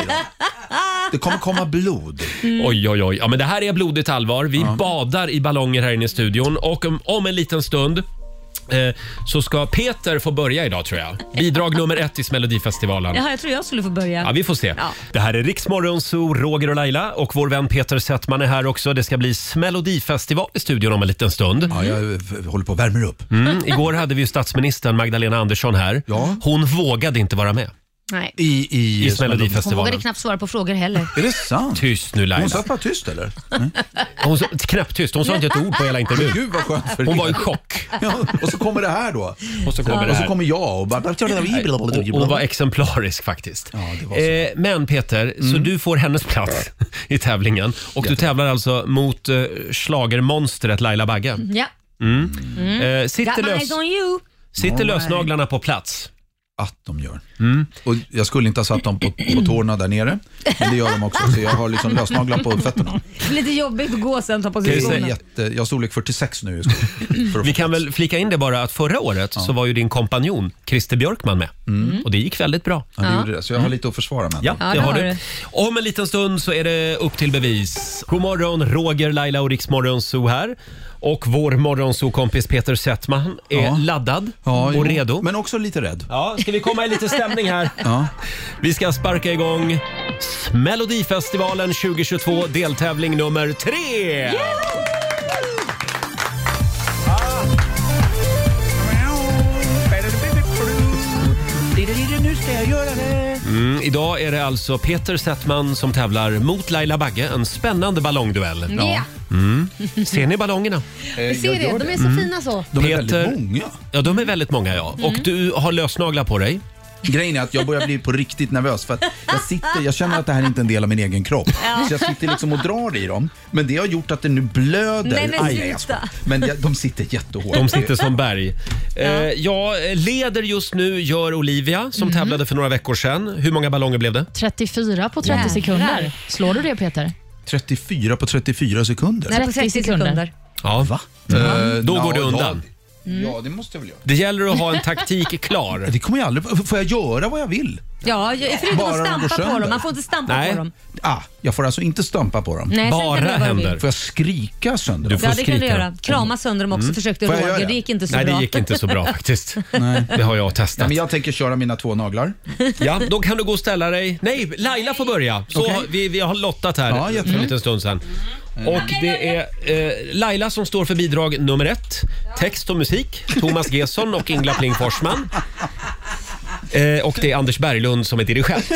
G: Det kommer komma blod.
A: Oj, oj, oj. Ja, men det här är blodigt allvar. Vi badar i ballonger här inne i studion och om, om en liten stund eh, så ska Peter få börja idag tror jag. Bidrag nummer ett i Melodifestivalen.
B: Jaha, jag tror jag skulle få börja.
A: Ja, vi får se.
B: Ja.
A: Det här är Riksmorgon, så Roger och Laila och vår vän Peter Settman är här också. Det ska bli Melodifestival i studion om en liten stund.
G: Ja, jag eh, håller på och värmer upp.
A: Mm, igår hade vi ju statsministern Magdalena Andersson här.
G: Ja.
A: Hon vågade inte vara med
B: Nej.
G: I, i,
A: i
B: Hon vågade
A: Melodifestivalen.
B: knappt svara på frågor heller.
G: Är det sant?
A: Tyst nu Laila.
G: Hon satt bara tyst eller?
A: Hon sa, knäpptyst. Hon sa inte ett ord på hela intervjun.
G: Gud vad skönt för
A: Hon var i
G: er.
A: chock.
G: Ja, och så kommer det här då.
A: Och så kommer det
G: Och så
A: här.
G: kommer jag och bara...
A: Och- Hon var exemplarisk faktiskt.
G: det var Mm.
A: eh, men Peter, så du får hennes plats i tävlingen. Och du tävlar alltså mot eh, schlagermonstret Laila Bagge.
B: Ja.
G: Mhm.
A: Eh, sitter
B: Got my
A: lös,
B: eyes on you.
A: sitter lösnaglarna på plats?
G: Att de gör.
A: Mm.
G: Och jag skulle inte ha satt dem på, på tårna där nere, men det gör de också. Så jag har liksom lösnaglar på fötterna.
B: Lite jobbigt att gå sen och ta på sig
G: Det är
B: skorna.
G: jätte, jag har storlek 46 nu just nu. För att-
A: Vi kan väl flika in det bara att förra året så var ju din kompanjon Christer Björkman med.
G: Mm.
A: Och det gick väldigt bra.
G: Ja, det gjorde det. Så jag har lite att försvara med.
A: Mm. Ja, det
B: det
A: har
B: har
A: du.
B: du.
A: Om en liten stund så är det upp till bevis. God morgon, Roger, Laila och Riksmorgon Zoo här. Och vår morgonzoo-kompis Peter Settman är
G: Ja.
A: laddad
G: Ja,
A: och
G: jo.
A: redo.
G: Men också lite rädd.
A: Ja, ska vi komma i lite stämning här?
G: Ja.
A: Vi ska sparka igång Melodifestivalen 2022, deltävling nummer tre! Mm, idag är det alltså Peter Settman som tävlar mot Laila Bagge. En spännande ballongduell.
H: Ja.
A: Ser ni ballongerna?
G: Eh,
H: Vi ser det. De är
G: Mm.
H: så fina så.
G: De är
A: Peter-
G: väldigt många.
A: Ja, de är väldigt många ja. Och du har lösnaglar på dig.
G: Grejen är att jag börjar bli på riktigt nervös för att jag, sitter, jag känner att det här är inte är en del av min egen kropp. Så jag sitter liksom och drar i dem. Men det har gjort att det nu blöder.
B: Nej, men
G: Aj, nej,
B: sluta.
G: jag skojar. Men jag, de sitter jättehårt.
A: De sitter som berg. Eh, ja, leder just nu gör Olivia som tävlade för några veckor sedan. Hur många ballonger blev det?
C: 34 på 30 sekunder. Slår du det Peter?
G: 34 Eh, på 34 sekunder.
B: Nej, på 30
C: sekunder.
B: sekunder.
A: Ja.
G: Va?
A: Då går det undan.
G: Mm. Ja, Mm. Ja, det måste jag väl göra.
A: Det gäller att ha en taktik klar.
G: Det kommer jag aldrig... Får jag göra vad jag vill?
B: Ja, ju- förutom
G: Bara de
B: att
G: går
B: stampa på
G: sönder.
B: dem. Man får inte stampa på dem.
G: Ah, jag får alltså inte stampa på dem?
B: Nej, sen kan Bara du göra vad du vill. händer.
G: Får jag skrika sönder
B: ja,
G: dem?
B: det kan du göra. Krama sönder dem också försökte
G: Får jag
B: Roger.
G: göra?
B: Det gick inte så
G: Nej, det
B: bra.
G: gick inte så bra
A: faktiskt.
G: Nej.
A: Det har jag testat.
G: Ja, men jag tänker köra mina två naglar.
A: Ja, då kan du gå och ställa dig. Nej, Laila får börja. Så
G: Okej.
A: har- vi, vi har lottat här
G: Ja,
A: för en
G: jättebra.
A: liten stund sedan. Och det är eh, Laila som står för bidrag nummer ett. Text och musik, Thomas Gesson och Ingela Pling Forsman. Eh, och det är Anders Berglund som är dirigent.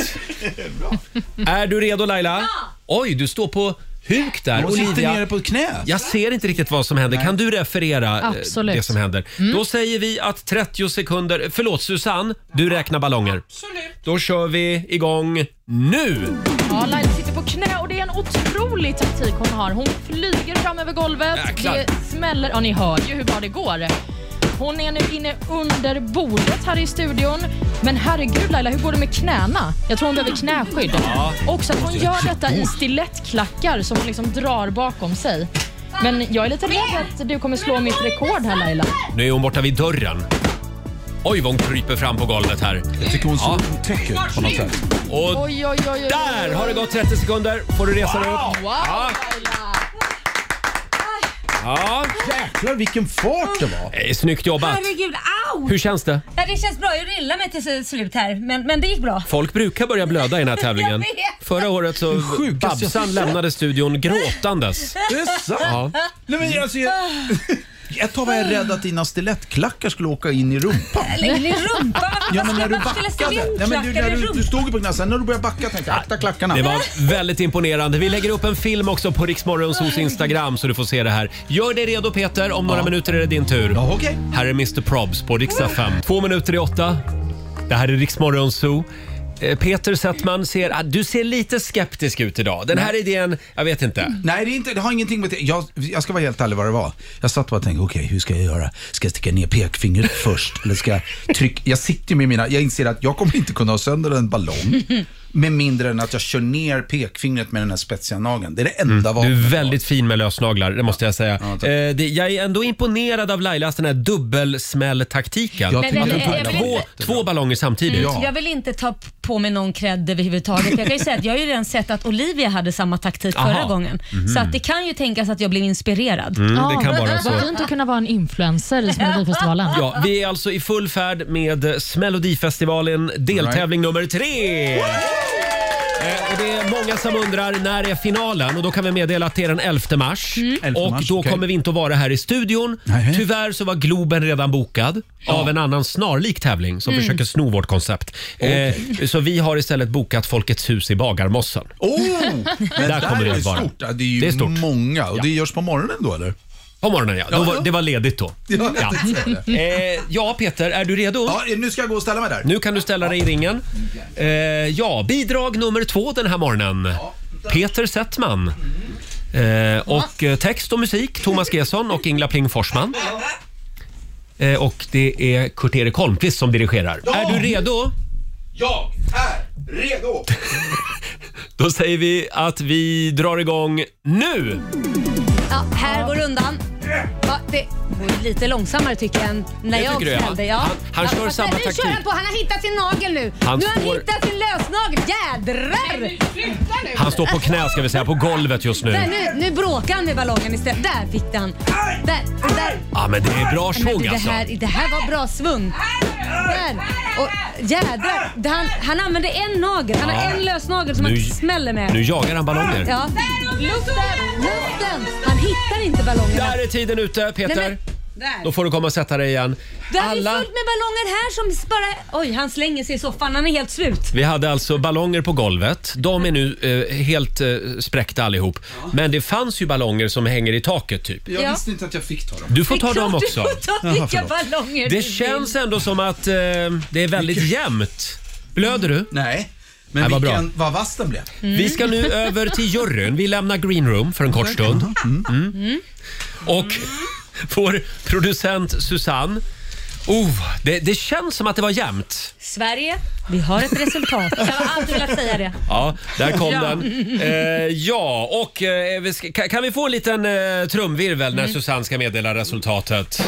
A: Är du redo Laila? Oj, du står på huk där.
G: Jag sitter
A: Olivia.
G: nere på knä.
A: Jag ser inte riktigt vad som händer. Kan du referera eh,
C: Absolut. Mm.
A: det som händer? Då säger vi att 30 sekunder... Förlåt Susanne, du räknar ballonger. Absolut. Då kör vi igång nu!
C: Ja, Laila sitter på knä och det är en otrolig taktik hon har. Hon flyger fram över golvet.
A: Jäklar.
C: Det smäller. Ja, ni hör ju hur bra det går. Hon är nu inne under bordet här i studion. Men herregud Laila, hur går det med knäna? Jag tror hon behöver knäskydd.
K: Ja.
C: Också att hon gör detta i stilettklackar som hon liksom drar bakom sig. Men jag är lite rädd att du kommer slå mitt rekord här Laila.
A: Nu är hon borta vid dörren. Oj, vad hon kryper fram på golvet här. Jag tycker hon ja. täcker på något sätt. Och
C: Oj, oj, oj, oj.
A: där har det gått 30 sekunder. Får du resa dig upp.
C: Wow,
A: Ja. ja. Jäklar vilken fart det var. Snyggt jobbat.
B: Herregud, au!
A: Hur känns det?
B: Ja, det känns bra. Jag rillade mig till slut här, men, men det gick bra.
A: Folk brukar börja blöda i den här tävlingen.
B: Jag vet.
A: Förra året så
B: sjukaste jag
A: Babsan
B: sett.
A: lämnade studion gråtandes.
G: Det är sant?
A: Ja.
G: Nej, men alltså, jag, ett tag var jag rädd att dina stilettklackar skulle åka in i rumpan.
B: Eller in i rumpan?
G: Ja, men när du
B: Varför skulle
G: backade. Nej, men du,
B: stilettklackar
G: när
B: i
G: du, du
B: rumpan?
G: stod ju på knä, sen när du började backa tänkte jag akta klackarna.
A: Det var väldigt imponerande. Vi lägger upp en film också på Riksmorgonsos Instagram så du får se det här. Gör dig redo Peter, om några minuter är det din tur. Ja, Här är Mr Probs på riksdag 5. Två minuter i åtta. Det här är Riksmorgonso. Peter Settman ser, ah, du ser lite skeptisk ut idag. Den här
G: Nej.
A: idén, jag vet inte.
G: Nej, det, är inte, det har ingenting med det. Jag, jag ska vara helt ärlig vad det var. Jag satt bara och tänkte, okej, hur ska jag göra? Ska jag sticka ner pekfingret först? Eller ska jag trycka? Jag sitter ju med mina... Jag inser att jag kommer inte kunna ha sönder en ballong. Med mindre än att jag kör ner pekfingret med den här spetsiga nageln. Det är det enda
A: Mm. Du
G: vapnet.
A: är väldigt fin med lösnaglar, det måste jag säga. eh, det, jag är ändå imponerad av Lailas den här dubbelsmälltaktiken.
B: Jag Men tycker den- att den- den-
A: två, två ballonger samtidigt.
B: Jag vill inte ta p- på mig någon cred överhuvudtaget. Jag kan ju säga att jag har ju redan sett att Olivia hade samma taktik
A: Aha.
B: förra gången.
A: Mhm.
B: Så att det kan ju tänkas att jag blev inspirerad.
A: Mm, det kan vara så.
C: Vad fint att kunna vara en influencer i Melodifestivalen.
A: Ja, vi är alltså i full färd med eh, Melodifestivalen, deltävling nummer tre. Eh, Och det är många som undrar när är finalen och då kan vi meddela att det är den 11 mars.
G: 11
A: Och
G: Mm. mars,
A: då
G: okej.
A: kommer vi inte att vara här i studion. Tyvärr så var Globen redan bokad av en annan snarlik tävling som
G: Mm.
A: försöker sno vårt koncept. Eh, så vi har istället bokat Folkets hus i Bagarmossen.
G: Oh, men
A: Där kommer det att vara.
G: Stort. Ja, Det är ju
A: Det är stort.
G: många och det
A: Ja.
G: görs på morgonen då eller?
A: På morgonen ja. Då var, det var ledigt då.
G: Ja, jag tänkte säga det.
A: Eh, ja, Peter, är du redo?
G: Ja, nu ska jag gå och ställa mig där.
A: Nu kan du ställa dig i ringen. Eh, ja, bidrag nummer två den här morgonen. Peter Settman. Eh, och eh, text och musik, Thomas Gesson och Ingela Pling Forsman. Eh, och det är Kurt-Erik Holmqvist som dirigerar. Är du redo?
G: Jag är redo!
A: Då säger vi att vi drar igång nu!
B: Ja, här går rundan. Ja, det går lite långsammare tycker jag än när
A: Det
B: jag
A: tycker du, ja.
B: ställde. Ja.
A: Han- han
B: Ja,
A: kör
B: fast
A: samma
B: nu
A: taktik.
B: Kör han, på. han har hittat sin nagel nu.
A: Han
B: nu har han
A: står-
B: hittat sin lösnagel. Jädrar!
A: Han står på knä ska vi säga, på golvet just nu.
B: Där, nu, nu bråkar han med ballongen istället. Där fick den. Där, och där.
A: Ja men det är bra
B: Men du,
A: svung
B: det,
A: alltså.
B: här, det här var bra svung. Där. Och jädrar. Det- Han, han använde en nagel. Han
A: Ja.
B: har en lös nagel som
A: Nu-
B: han smäller med.
A: nu jagar han ballonger.
B: Ja. Luften, luften. Han hittar inte ballongerna.
A: Där är tiden ute
B: Nej,
A: Peter.
B: men- Där.
A: Då får du komma och sätta dig igen.
B: Det är fullt med ballonger här som bara... Oj, han slänger sig i soffan. Han är helt slut.
A: Vi hade alltså ballonger på golvet. De är nu eh, helt eh, spräckta allihop. Men det fanns ju ballonger som hänger i taket typ.
G: Jag visste inte att jag fick ta dem.
A: Du får
B: Det är
A: ta dem
B: klart du
A: också.
B: får ta vilka ballonger du
A: Det
B: vill.
A: känns ändå som att eh, det är Mm. väldigt jämnt. Blöder du?
G: Nej, men
A: Nej, vad bra.
G: vilken, vad vass den blev.
A: Vi ska nu över till juryn. Vi lämnar green room för en kort stund. Mm. Och vår producent Susanne. Oh, det, det känns som att det var jämnt.
B: Sverige, vi har ett resultat. Jag har alltid velat säga det.
A: Ja, där kom
B: Ja.
A: den. Eh, ja, och eh, vi ska- kan, kan vi få en liten eh, trumvirvel när Susanne ska meddela resultatet?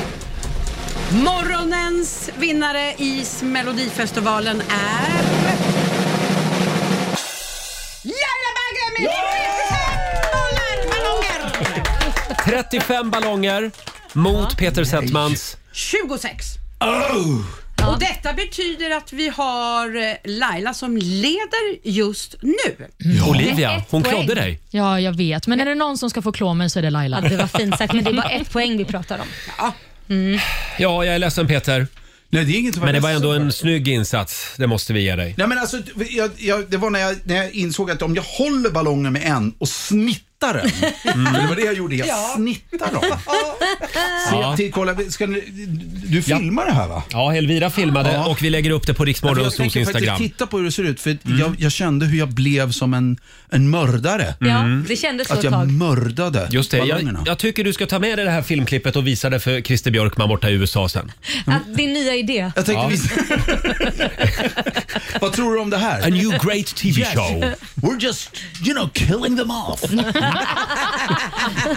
K: Morgonens vinnare i Melodifestivalen är... Laila Bagge med 3 ballonger!
A: 35 ballonger mot Peter Settmans.
K: 26.
L: Oh!
K: Och detta betyder att vi har eh, Laila som leder just nu.
A: Olivia, hon klådde dig.
C: Ja, jag vet. Men är det någon som ska få klå mig så är det Laila.
A: Ja, det var fint sagt, men det är bara
H: ett poäng vi pratar om.
A: Ja, jag är ledsen Peter.
G: Nej, det är inget
A: Men det var
G: ledsen
A: ändå en snygg insats. Det måste vi ge dig.
G: Nej, men alltså, jag, jag, det var när jag, när jag insåg att om jag håller ballongen med en och snittar den.
A: Mm.
G: för Det var det jag gjorde. Jag
D: Ja.
G: snittar dem.
A: Ja.
G: Se, till, kolla, ska ni, du filmar det här va?
A: Ja, Elvira filmade
G: Ja.
A: och vi lägger upp det på Rix
G: Jag
A: Morgonzoos
G: tänker faktiskt
A: Instagram. Mm.
G: titta på hur det ser ut för att jag, jag kände hur jag blev som en, en mördare.
B: Ja, Mm. det kändes så
G: Att jag
B: ett tag.
G: mördade
A: Just det, jag,
G: ballongerna.
A: jag tycker du ska ta med dig det här filmklippet och visa det för Christer Björkman borta i USA sen.
B: Att din nya idé.
G: Jag tänkte Vad tror du om det här?
A: A new great TV show.
G: We're just, you know, killing them off.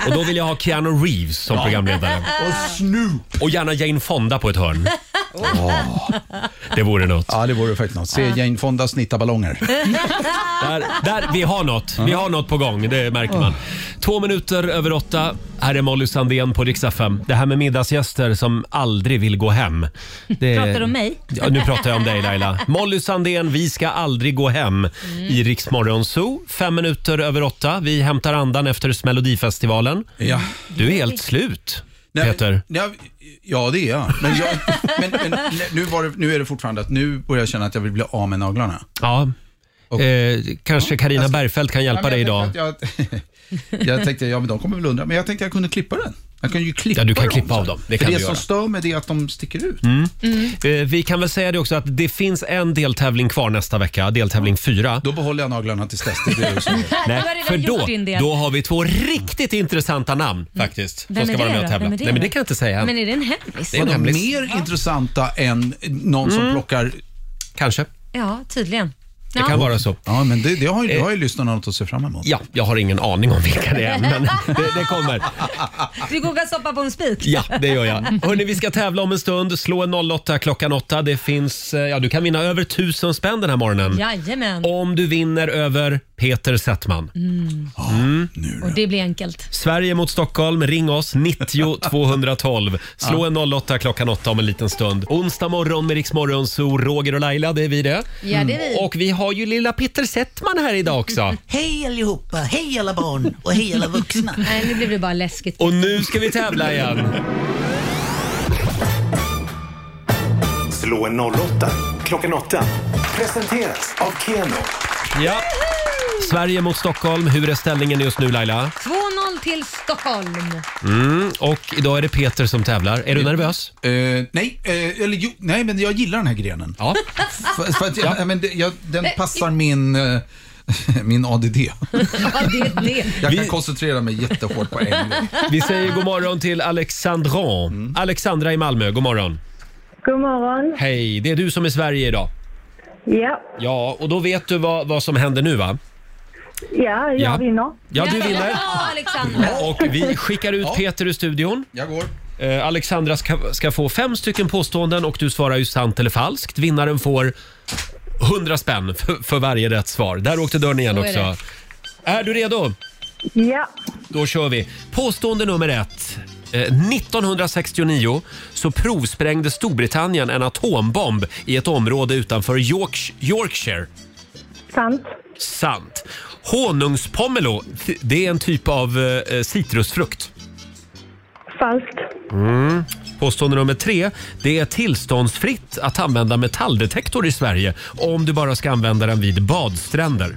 A: Och då vill jag ha Keanu Reeves som
D: Ja.
A: programledare.
D: Och
A: Snoop. Och gärna Jane Fonda på ett hörn. Det vore något.
G: Ja, det vore faktiskt något. Se
A: Ah.
G: Jane Fonda snitta ballonger.
A: Eh. Där, där, vi har något. Vi har något på gång, det märker man. Två minuter över åtta. Här är Molly Sandén på Rix FM. Det här med middagsgäster som aldrig vill gå hem. Det är-
B: Pratar du om mig?
A: Ja, nu pratar jag om dig Laila. Molly Sandén, vi ska aldrig gå hem
B: Mm.
A: i Rix Morgon Zoo. Fem minuter över åtta. Vi hämtar andan efter Melodifestivalen.
G: Ja.
A: Du är helt slut, Peter.
G: Ja, ja, det är jag. Men, jag, men, men nu, var det, nu är det fortfarande att nu börjar jag känna att jag vill bli av med naglarna.
A: Ja. Eh, kanske Karina Bergfeldt kan hjälpa
G: Ja, men
A: dig idag.
G: jag tänkte att Jag, jag tänkte, ja men de kommer väl undra, men jag tänkte jag kunde klippa den. Jag kan ju klippa
A: Ja, du kan klippa av dem. Det
G: Det,
A: kan
G: För det
A: du
G: som
A: göra.
G: stör mig det är att de sticker ut.
A: Mm. Eh, Vi kan väl säga det också att det finns en deltävling kvar nästa vecka, deltävling fyra.
G: Då behåller jag naglarna tills dess. Det blir ju så.
B: Du
A: Nej,
B: har redan
A: för
B: gjort
A: då,
B: din del.
A: då har vi två riktigt intressanta namn faktiskt.
B: Vem
A: som ska
B: är
A: vara
B: det
A: med och
B: då?
A: tävla.
B: Vem är det
A: Nej, men
B: då?
A: det kan jag inte säga.
B: Men är det en hemlis?
A: Det är en
G: Vadå,
A: hemlis.
G: mer intressanta än någon som
B: Mm.
G: plockar...
A: Kanske.
B: Ja, tydligen.
A: Det kan vara så.
G: Ja, men det, det har ju, det har
A: Eh.
G: ju lyssnarna något att se fram emot.
A: Ja, jag har ingen aning om vilka det är, men det, det kommer.
B: Du kokar soppa på en spik.
A: Ja, det gör jag. Hörni, vi ska tävla om en stund. Slå en 08 klockan 8. Det finns, eh, ja, du kan vinna över 1000 spänn den här morgonen.
B: Jajamän.
A: Om du vinner över Peter Settman.
B: Mm.
A: Mm.
B: Och det blir enkelt.
A: Sverige mot Stockholm. Ring oss 90 212. Slå en 08 klockan 8 om en liten stund. Onsdag morgon med Rix Morgon, så Roger och Laila, det är vi det.
L: Ja, det är vi.
A: Och vi har ju lilla Peter Settman här idag också.
L: Hej allihopa, hej alla barn och hej alla vuxna.
B: Nej, nu blev det bara läskigt.
A: Och nu ska vi tävla igen.
D: Slå en 08 klockan 8. Presenteras av Keno.
A: Ja. Sverige mot Stockholm. Hur är ställningen just nu Laila?
B: 2-0 till Stockholm.
A: Mm. Och idag är det Peter som tävlar. Är du nervös?
G: nej, eh, eller jo, nej, men jag gillar den här grenen.
A: Ja.
G: För, för att, jag-
A: Ja.
G: men det, jag, den passar min, eh, min ADD.
B: Ja, det är det.
G: Jag kan koncentrera mig jättehårt på en gång.
A: Vi säger god morgon till Alexandra. Alexandra i Malmö, god morgon.
E: God morgon.
A: Hej, det är du som är Sverige idag.
E: Ja,
A: Ja, och då vet du vad, vad som händer nu va?
E: ja jag
A: Ja.
E: vinner.
A: Ja, du vinner.
B: Ja, Alexander.
A: Och vi skickar ut Peter ur studion.
G: Jag går.
A: Eh, Alexandra ska, ska få fem stycken påståenden och du svarar ju sant eller falskt. Vinnaren får 100 spänn för, för varje rätt svar. Där åkte dörren igen
E: Så är
A: också. Är, du redo?
E: Ja.
A: Då kör vi. Påstående nummer ett. Eh, 1969 så provsprängde Storbritannien en atombomb i ett område utanför Yorksh- Yorkshire.
E: Sant.
A: Sant. Honungspomelo, th- det är en typ av eh, citrusfrukt.
E: Falskt.
A: Mm. Påstående nummer tre. Det är tillståndsfritt att använda metalldetektor i Sverige om du bara ska använda den vid badstränder.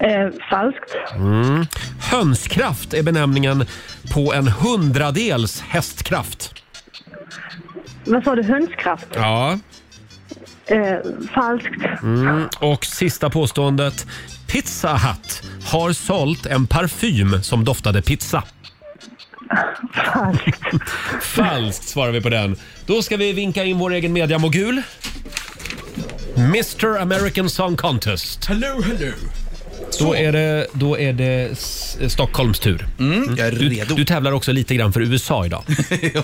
E: Eh, falskt.
A: Mm. Hönskraft är benämningen på en hundradels hästkraft.
E: Vad sa du? Hönskraft?
A: Ja.
E: Eh, falskt.
A: Mm. Och sista påståendet. Pizza Hut har sålt en parfym som doftade pizza.
E: Falskt.
A: Falskt svarar vi på den. Då ska vi vinka in vår egen mediamogul. Mr American Song Contest.
G: Hello, hello.
A: Då är det, då är det S- Stockholms tur.
G: Mm, jag är
A: du,
G: redo.
A: du tävlar också lite grann för USA idag.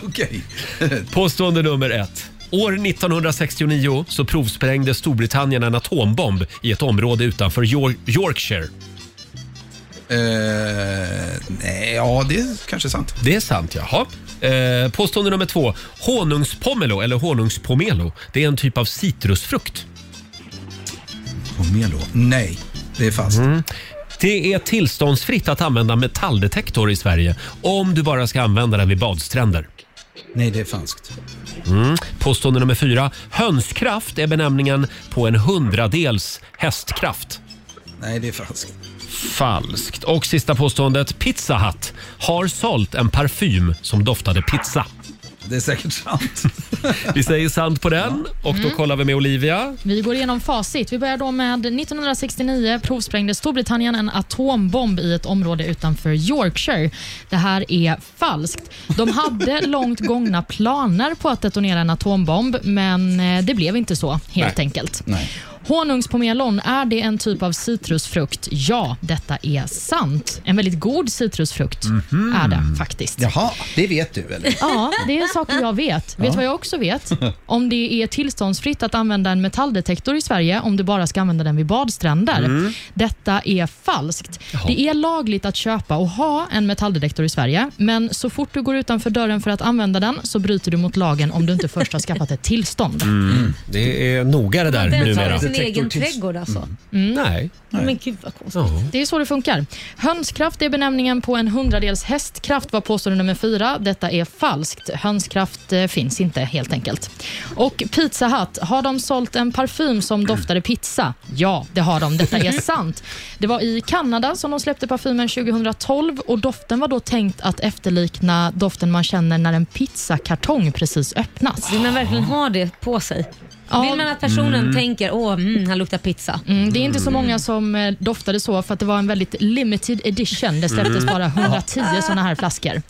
G: Okej.
A: Påstående nummer ett. År 1969 så provsprängde Storbritannien en atombomb i ett område utanför York- Yorkshire.
G: Eh, nej, ja, det är kanske sant.
A: Det är sant, jaha. Eh, påstående nummer två. Honungspomelo, eller honungspomelo, det är en typ av citrusfrukt.
G: Pomelo? Nej, det är falskt.
A: Det är tillståndsfritt att använda metalldetektor i Sverige om du bara ska använda den vid badstränder.
G: Nej, det är falskt.
A: Mm. Påstående nummer fyra. Hönskraft är benämningen på en hundradels hästkraft.
G: Nej, det är falskt.
A: Falskt. Och sista påståendet. Pizza Hut har sålt en parfym som doftade pizza.
G: Det är säkert sant.
A: Vi säger sant på den och då
C: Mm.
A: kollar vi med Olivia.
C: Vi går igenom facit. Vi börjar då med 1969 provsprängde Storbritannien en atombomb i ett område utanför Yorkshire. Det här är falskt. De hade långt gångna planer på att detonera en atombomb, men eh, det blev inte så helt
M: Nej.
C: enkelt.
M: Nej.
C: Honungspomelon, är det en typ av citrusfrukt? Ja, detta är sant. En väldigt god citrusfrukt är det faktiskt.
L: Jaha, det vet du eller?
C: Ja, det är saker jag vet. Vet
L: Ja.
C: du vad jag också vet? Om det är tillståndsfritt att använda en metalldetektor i Sverige om du bara ska använda den vid badstränder.
M: Mm.
C: Detta är falskt.
M: Jaha.
C: Det är lagligt att köpa och ha en metalldetektor i Sverige, men så fort du går utanför dörren för att använda den så bryter du mot lagen om du inte först har skaffat ett tillstånd.
A: Det är noga det där
C: Den tar
A: numera.
C: sin egen trädgård, alltså. Mm.
A: Nej.
C: Men gud vad konstigt.
A: Ja.
C: Det är så det funkar. Hönskraft är benämningen på en hundradels hästkraft var påstående nummer fyra. Detta är falskt. Hönskraft eh, finns inte helt enkelt. Och Pizza Hut, har de sålt en parfym som doftade pizza? Ja, det har de. Detta är sant. Det var i Kanada som de släppte parfymen 2012 och doften var då tänkt att efterlikna doften man känner när en pizzakartong precis öppnas.
B: Vill man verkligen ha det på sig? Vill man att personen tänker åh, mm, han luktar pizza?
C: Mm, det är inte så många som eh, doftade så för att det var en väldigt limited edition. Det släpptes
B: Mm.
C: bara 110 sådana här flaskor.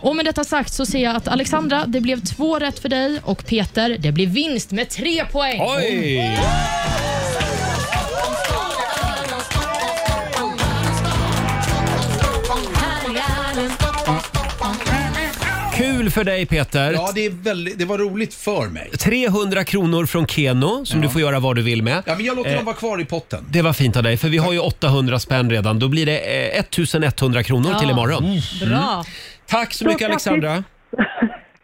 C: Och med detta sagt så ser jag att Alexandra, det blev två rätt för dig och Peter, det blev vinst med tre poäng.
A: Oj! Kul för dig Peter.
G: Ja, det, är väldigt, det var roligt för mig.
A: 300 kronor från Keno som du får göra vad du vill med.
G: Ja, men jag låter
A: Eh,
G: dem vara kvar i potten.
A: Det var fint av dig, för vi har ju 800 spänn redan. Då blir det eh, 1100 kronor till imorgon. Mm. Tack så mycket Alexandra.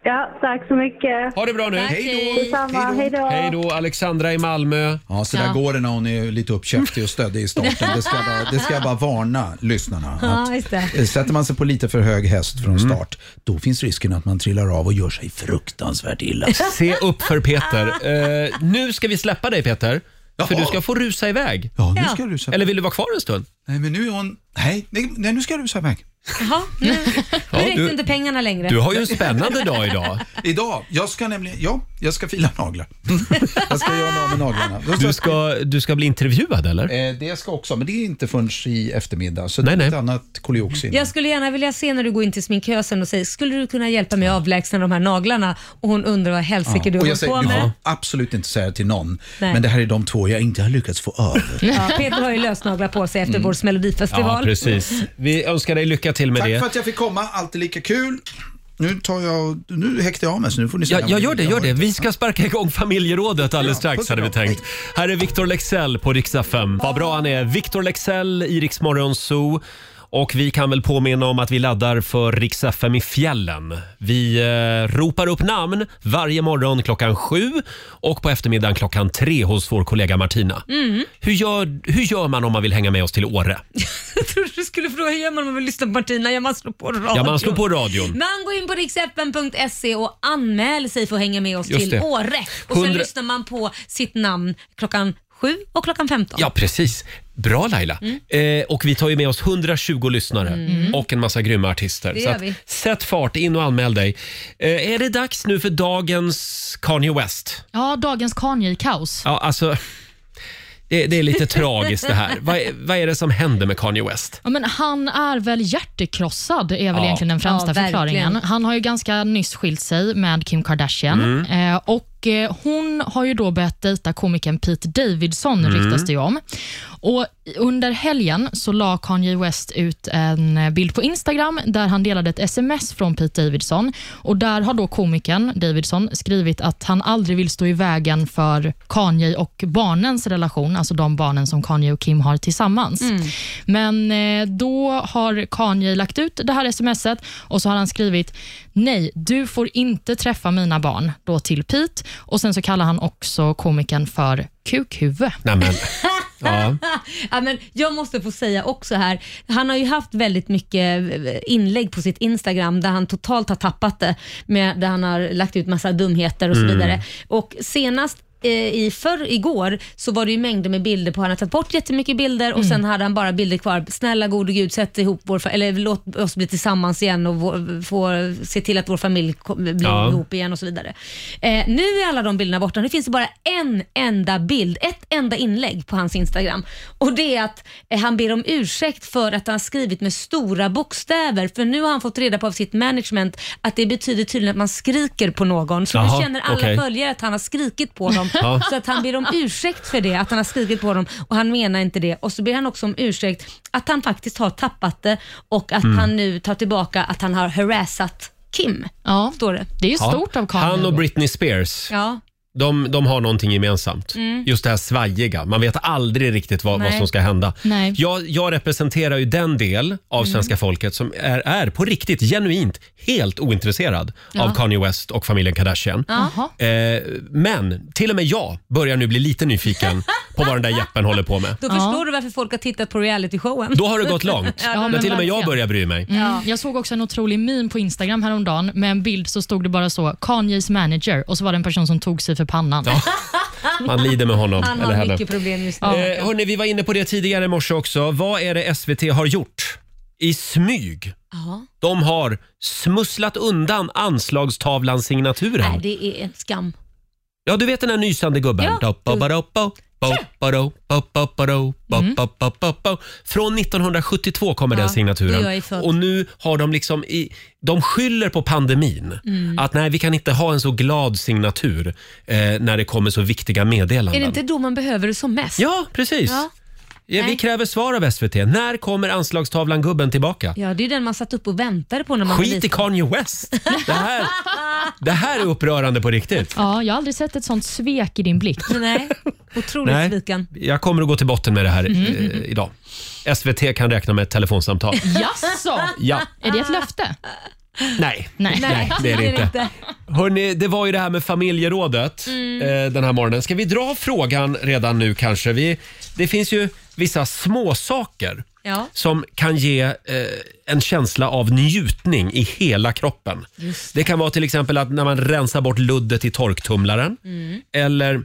E: Ja, tack så mycket.
A: Ha det bra nu. Tack,
E: Hej då. Detsamma. Hej då.
A: Hej då Alexandra i Malmö.
G: Ja, så där
E: Ja.
G: går det när hon är lite uppkäftig och stöddig i starten. Det ska jag bara, det ska jag bara varna lyssnarna.
B: Ja,
G: Att,
B: just det.
G: eh, Sätter man sig på lite för hög häst från start, då finns risken att man trillar av och gör sig fruktansvärt illa.
A: Se upp för Peter. Eh, nu ska vi släppa dig Peter, för du ska få rusa iväg.
G: Ja, nu ska jag rusa
A: Eller vill du vara kvar en stund?
G: Nej, men nu är hon... Nej, nej, nej nu ska jag rusa iväg.
B: Jaha, nu,
G: Ja,
B: nu räckte
G: du-
B: inte pengarna längre.
G: Idag? Jag ska nämligen... Ja, jag ska fila naglar. jag ska göra mig av med naglarna. Då
A: Du ska, du ska bli intervjuad eller?
G: Eh, det ska också, men det är inte förrän i eftermiddag. Så det är ett annat koliox innan.
B: Jag skulle gärna vilja se när du går in till sminkösen och säger “Skulle du kunna hjälpa mig att avlägsna de här naglarna?” och hon undrar vad helsike du
G: och
B: håller
G: jag säger,
B: på
G: du
B: med.
G: får absolut inte säga det till någon,
B: Nej.
G: men det här är de två jag inte har lyckats få över.
B: Ja, Peter har ju lösnaglar på sig efter
G: Mm.
B: vårs melodifestival.
A: Vi önskar dig lycka till med
G: Tack
A: det.
G: för att jag fick komma, alltid lika kul. Nu tar jag, nu häktar jag av mig så nu får ni säga
A: Ja, ja,
G: vad
A: gör det,
G: jag
A: gör
G: har
A: det.
G: varit.
A: Vi ska sparka igång familjerådet alldeles strax hade vi tänkt. Här är Victor Lexell på riksdag 5. Vad bra han är. Victor Lexell i Rix Morgon Zoo. Och vi kan väl påminna om att vi laddar för Rix FM i fjällen. Vi eh, ropar upp namn varje morgon klockan sju och på eftermiddagen klockan tre hos vår kollega Martina.
B: Mm.
A: Hur, gör, hur gör man om man vill hänga med oss till Åre?
B: Jag trodde du skulle fråga hur gör man om man vill lyssna på Martina. Ja, man slår på radion.
A: Ja, man slår på radion.
B: Man går in på riksfn.se och anmäler sig för att hänga med oss
A: Just
B: till
A: det.
B: Åre. Och sen
A: Hundra-
B: lyssnar man på sitt namn klockan 7 och klockan 15.
A: Ja, precis. Bra Laila. Eh, och vi tar ju med oss 120 lyssnare
B: Mm.
A: och en massa grymma artister.
B: Det
A: Så
B: gör
A: att,
B: vi.
A: sätt fart, in och anmäl dig. Eh, är det dags nu för dagens Kanye West?
C: Ja, dagens Kanye-kaos.
A: Ja, alltså... Det, det är lite tragiskt det här. Vad, är- vad är det som händer med Kanye West?
C: Ja, men han är väl hjärtekrossad, är väl
A: Ja.
C: egentligen den
B: Ja,
C: främsta
B: verkligen.
C: förklaringen. Han har ju ganska nyss skilt sig med Kim Kardashian.
A: Mm.
C: Eh, och Och eh, Hon har ju då börjat dejta komikern Pete Davidson,
M: Mm.
C: ryktas det ju om. Och i- under helgen så la Kanye West ut en eh, bild på Instagram där han delade ett sms från Pete Davidson. Och Där har då komikern Davidson skrivit att han aldrig vill stå i vägen för Kanye och barnens relation, alltså de barnen som Kanye och Kim har tillsammans.
M: Mm.
C: Men eh, då har Kanye lagt ut det här smset och så har han skrivit nej, du får inte träffa mina barn då till Pete. Och sen så kallar han också komikern för kukhuvud.
A: Nämen. Ja.
B: ja, men jag måste få säga också här, han har ju haft väldigt mycket eh, inlägg på sitt Instagram där han totalt har tappat det, med, där han har lagt ut massa dumheter och så
H: Mm.
B: vidare. Och senast eh, i förr, igår så var det ju mängder med bilder på Han har tagit bort jättemycket bilder och sen hade han bara bilder kvar. Snälla gode gud, sätt ihop vår, fa- eller låt oss bli tillsammans igen och vår, få, se till att vår familj ko- blir
M: Ja.
B: ihop igen och så vidare. Eh, nu är alla de bilderna borta. Nu finns det bara en enda bild, ett enda inlägg på hans Instagram. Och det är att eh, han ber om ursäkt för att han skrivit med stora bokstäver. För nu har han fått reda på av sitt management att det betyder tydligen att man skriker på någon. Så
M: Jaha,
B: nu känner alla
M: okej.
B: följare att han har skrikit på dem.
M: Ja.
B: Så att han ber om ursäkt för det, att han har skrikit på dem och han menar inte det. Och så ber han också om ursäkt att han faktiskt har tappat det och att
A: Mm.
B: han nu tar tillbaka att han har harassat Kim.
C: Ja.
B: Står det.
C: Det är
A: Ja. Han och Britney Spears.
B: Ja.
A: De, de har någonting gemensamt.
B: Mm.
A: Just det här svajiga. Man vet aldrig riktigt vad, vad
B: Nej.
A: som ska hända.
B: Nej.
A: Jag, jag representerar ju den del av
B: Mm.
A: svenska folket som är, är på riktigt, genuint, helt ointresserad
M: Ja.
A: av Kanye West och familjen Kardashian.
M: Jaha.
A: Eh, men till och med jag börjar nu bli lite nyfiken på vad den där jeppen håller på med.
B: Då förstår du varför folk har tittat på realityshowen.
A: Då har det gått långt.
C: Ja,
A: När
C: men
A: till och med jag
C: verkligen.
A: börjar bry mig.
C: Mm. Jag såg också en otrolig meme på Instagram häromdagen med en bild så stod det bara så, Kanyes manager och så var det en person som tog sig för pannan.
A: Man lider med honom.
C: Han har
A: eller henne.
C: mycket problem just nu.
A: Eh, hörni, vi var inne på det tidigare i morse också. Vad är det SVT har gjort i smyg?
B: Ja.
A: De har smusslat undan anslagstavlans signaturen.
B: Nej, det är en skam.
A: Ja, du vet den här nysande gubben. Doppabarappo, bopparo, boppaparo,
B: Mm.
A: boppapapapo. Från 1972 kommer
M: Ja,
A: den
M: då
A: signaturen.
M: jag är född.
A: Och nu har de liksom i, de skyller på pandemin.
B: Mm.
A: Att nej, vi kan inte ha en så glad signatur eh, när det kommer så viktiga meddelanden.
B: Är det inte då man behöver det som mest?
A: Ja, precis.
B: Ja,
A: Ja, vi
B: Nej.
A: kräver svar av SVT. När kommer anslagstavlan gubben tillbaka?
B: ja det är ju den man satt upp och väntade på när man var
A: Skit i
B: liten.
A: Kanye West! Det här, det här är upprörande på riktigt.
C: Ja, jag har aldrig sett ett sånt svek i din blick.
B: Nej, otroligt
A: Nej.
B: sviken.
A: Jag kommer att gå till botten med det här
C: Mm.
A: eh, idag. SVT kan räkna med ett telefonsamtal.
C: Jaså?
A: Ja.
C: Är det ett löfte?
A: Nej. det är det inte. Hörrni, det var ju det här med familjerådet
M: Mm.
A: eh, den här morgonen. Ska vi dra frågan redan nu kanske? Vi, det finns ju vissa små saker
M: Ja.
A: som kan ge eh, en känsla av njutning i hela kroppen.
M: Just
A: Det kan vara till exempel att när man rensar bort luddet i torktumlaren
M: Mm.
A: eller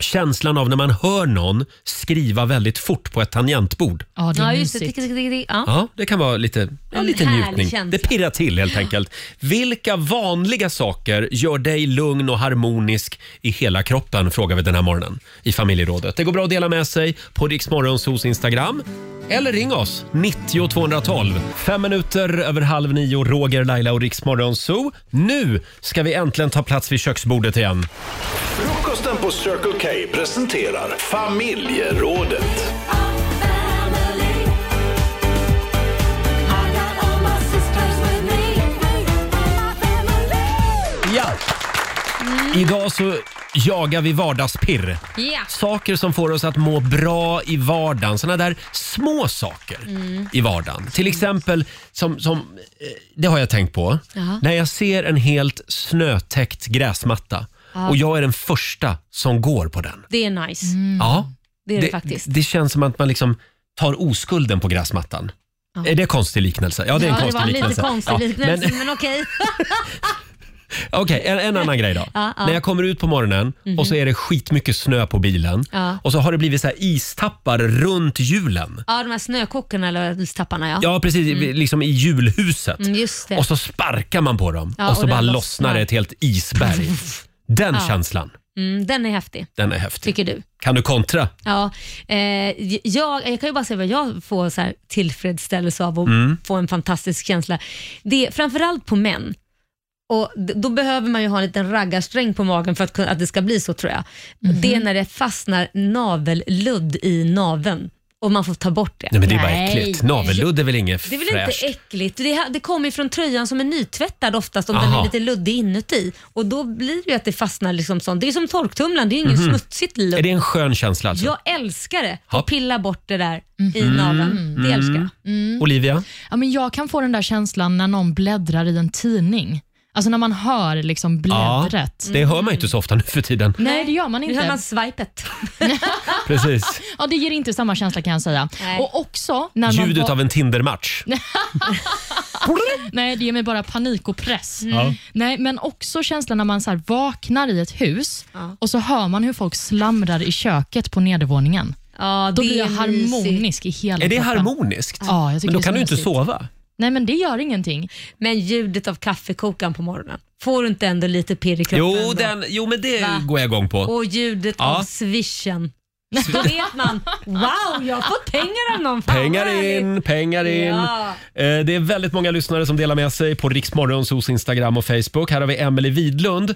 A: känslan av när man hör någon skriva väldigt fort på ett tangentbord.
C: Ja,
B: det är mysigt. Tick, tick, tick, tick. Ja.
A: Ja, det kan vara lite, ja,
B: En
A: lite
B: härlig
A: njutning.
B: känsla.
A: Det pirrar till helt enkelt. Vilka vanliga saker gör dig lugn och harmonisk i hela kroppen? Frågar vi den här morgonen i familjerådet. Det går bra att dela med sig på Riksmorgonsos Instagram. Eller ring oss, 90 212. Fem minuter över halv nio, Roger, Laila och Riksmorgonso. Nu ska vi äntligen ta plats vid köksbordet igen.
D: Frukosten på Circle K presenterar familjerådet.
A: Ja!
B: Mm.
A: Idag så jagar vi vardagspirr.
M: Ja.
A: Saker som får oss att må bra i vardagen. Såna där små saker
M: Mm.
A: i vardagen. Till exempel, som, som, eh, det har jag tänkt på,
M: Jaha.
A: när jag ser en helt snötäckt gräsmatta
B: Ja.
A: och jag är den första som går på den.
B: Det är nice.
A: Ja,
B: Det är det, faktiskt.
A: Det, känns som att man liksom tar oskulden på gräsmattan.
B: Ja.
A: Är det konstig liknelse? Ja, det är en konstig
B: var
A: liknelse.
B: lite konstig
A: Ja,
B: liknelse,
A: men-
B: men, okej.
A: Okej, en, en annan grej då.
B: Ja, ja.
A: När jag kommer ut på morgonen
B: Mhm.
A: och så är det skitmycket snö på bilen
B: Ja.
A: och så har det blivit så här istappar runt hjulen.
B: Ja, de här snökockarna eller istapparna ja.
A: Ja, precis.
B: Mm.
A: Liksom i julhuset.
B: Mm, just det.
A: Och så sparkar man på dem
B: Ja,
A: och så
B: och
A: bara
B: den
A: lossnar.
B: lossnar.
A: det ett helt isberg. Den
B: Ja.
A: känslan,
B: Mm, den är häftig,
A: den är häftig.
B: tycker du.
A: Kan du kontra?
B: Ja, eh, jag, jag kan ju bara säga vad jag får så här tillfredsställelse av och
A: Mm.
B: få en fantastisk känsla. Det är framförallt på män. Och d- då behöver man ju ha en liten raggarsträng på magen för att, kunna- att det ska bli så tror jag.
H: Mhm.
B: Det är när det fastnar navelludd i naveln och man får ta bort det.
A: Nej men det är bara äckligt. Navelludd är väl inget
B: Det är väl
A: fräscht?
B: inte äckligt? Det, ha- det kommer ju från tröjan som är nytvättad oftast om den
A: Aha.
B: är lite luddig inuti. Och då blir det ju att det fastnar liksom sånt. Det är som torktumlaren, det är ju ingen
A: Mhm.
B: smutsigt ludd.
A: Är det en skön känsla alltså?
B: Jag älskar det.
A: Ja.
B: Att pilla bort det där i
A: Mm.
B: naveln. Det älskar jag.
C: Mm.
A: Olivia?
C: Ja, men jag kan få den där känslan när någon bläddrar i en tidning. Alltså när man hör liksom bläddret.
A: Ja, det hör man ju inte så ofta nu för tiden.
C: Nej, det gör man inte.
B: Nu hör man svajpet.
A: Precis.
C: ja, det ger inte samma känsla kan jag säga. Och också när man
A: Ljudet
C: va-
A: av en Tindermatch.
C: Nej, det ger mig bara panik och press.
A: Mm. Ja.
C: Nej, men också känslan när man så här vaknar i ett hus och så hör man hur folk slamrar i köket på nedervåningen.
B: Ja,
C: Då
B: det
C: blir jag
B: är
C: harmonisk
B: mysigt.
C: i hela
A: Är det
C: kroppen.
A: harmoniskt?
C: Ja, jag
A: men
C: tycker
A: då
C: det är
A: kan
C: så
A: du inte
C: mysigt.
A: sova.
C: Nej, men det gör ingenting.
B: Men ljudet av kaffekokaren på morgonen. Får du inte ändå lite pirr i kroppen?
A: Jo,
B: då?
A: den, jo, men det
B: Va?
A: går jag igång på.
B: Och ljudet
A: Ja.
B: av swishen. Då vet man, wow, jag har fått pengar av någon. Fan, vad
A: Pengar in, pengar in.
B: Ja.
A: Eh, Det är väldigt många lyssnare som delar med sig på Riksmorgonsos Instagram och Facebook. Här har vi Emelie Widlund.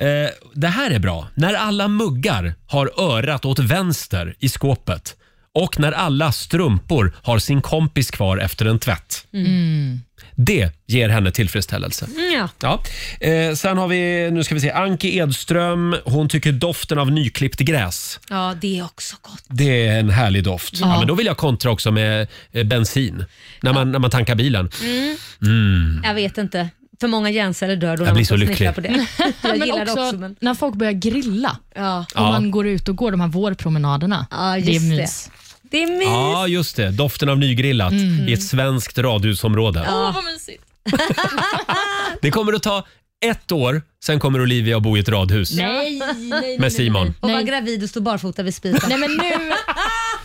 A: Eh, Det här är bra. När alla muggar har örat åt vänster i skåpet och när alla strumpor har sin kompis kvar efter en tvätt.
C: Mm.
A: Det ger henne tillfredsställelse.
B: Ja.
A: Ja. Eh, sen har vi, nu ska vi se, Anki Edström. Hon tycker doften av nyklippt gräs.
B: Ja, det är också gott.
A: Det är en härlig doft. Ja.
B: Ja.
A: men då vill jag kontra också med eh, bensin. När man, när man tankar bilen.
B: Mm.
A: Mm.
B: Jag vet inte. För många hjärnceller dör då
A: Jag
B: när man
A: blir
B: får
A: så
B: snickra
A: lycklig.
B: På det. Jag
C: Men
B: gillar det
C: också,
B: också. Men...
C: när folk börjar grilla
B: Ja.
C: och
A: Ja.
C: man går ut och går de här vårpromenaderna.
B: Ja,
C: det är
B: just det.
C: mys.
B: Det är mys.
A: Ja, just det. Doften av nygrillat
C: Mm.
A: i ett svenskt radhusområde.
C: vad mysigt.
A: Det kommer att ta ett år, sen kommer Olivia att bo i ett radhus.
B: Nej, nej, nej,
A: Med Simon.
B: Och var gravid och stå barfota vid spisen.
C: Nej, men nu,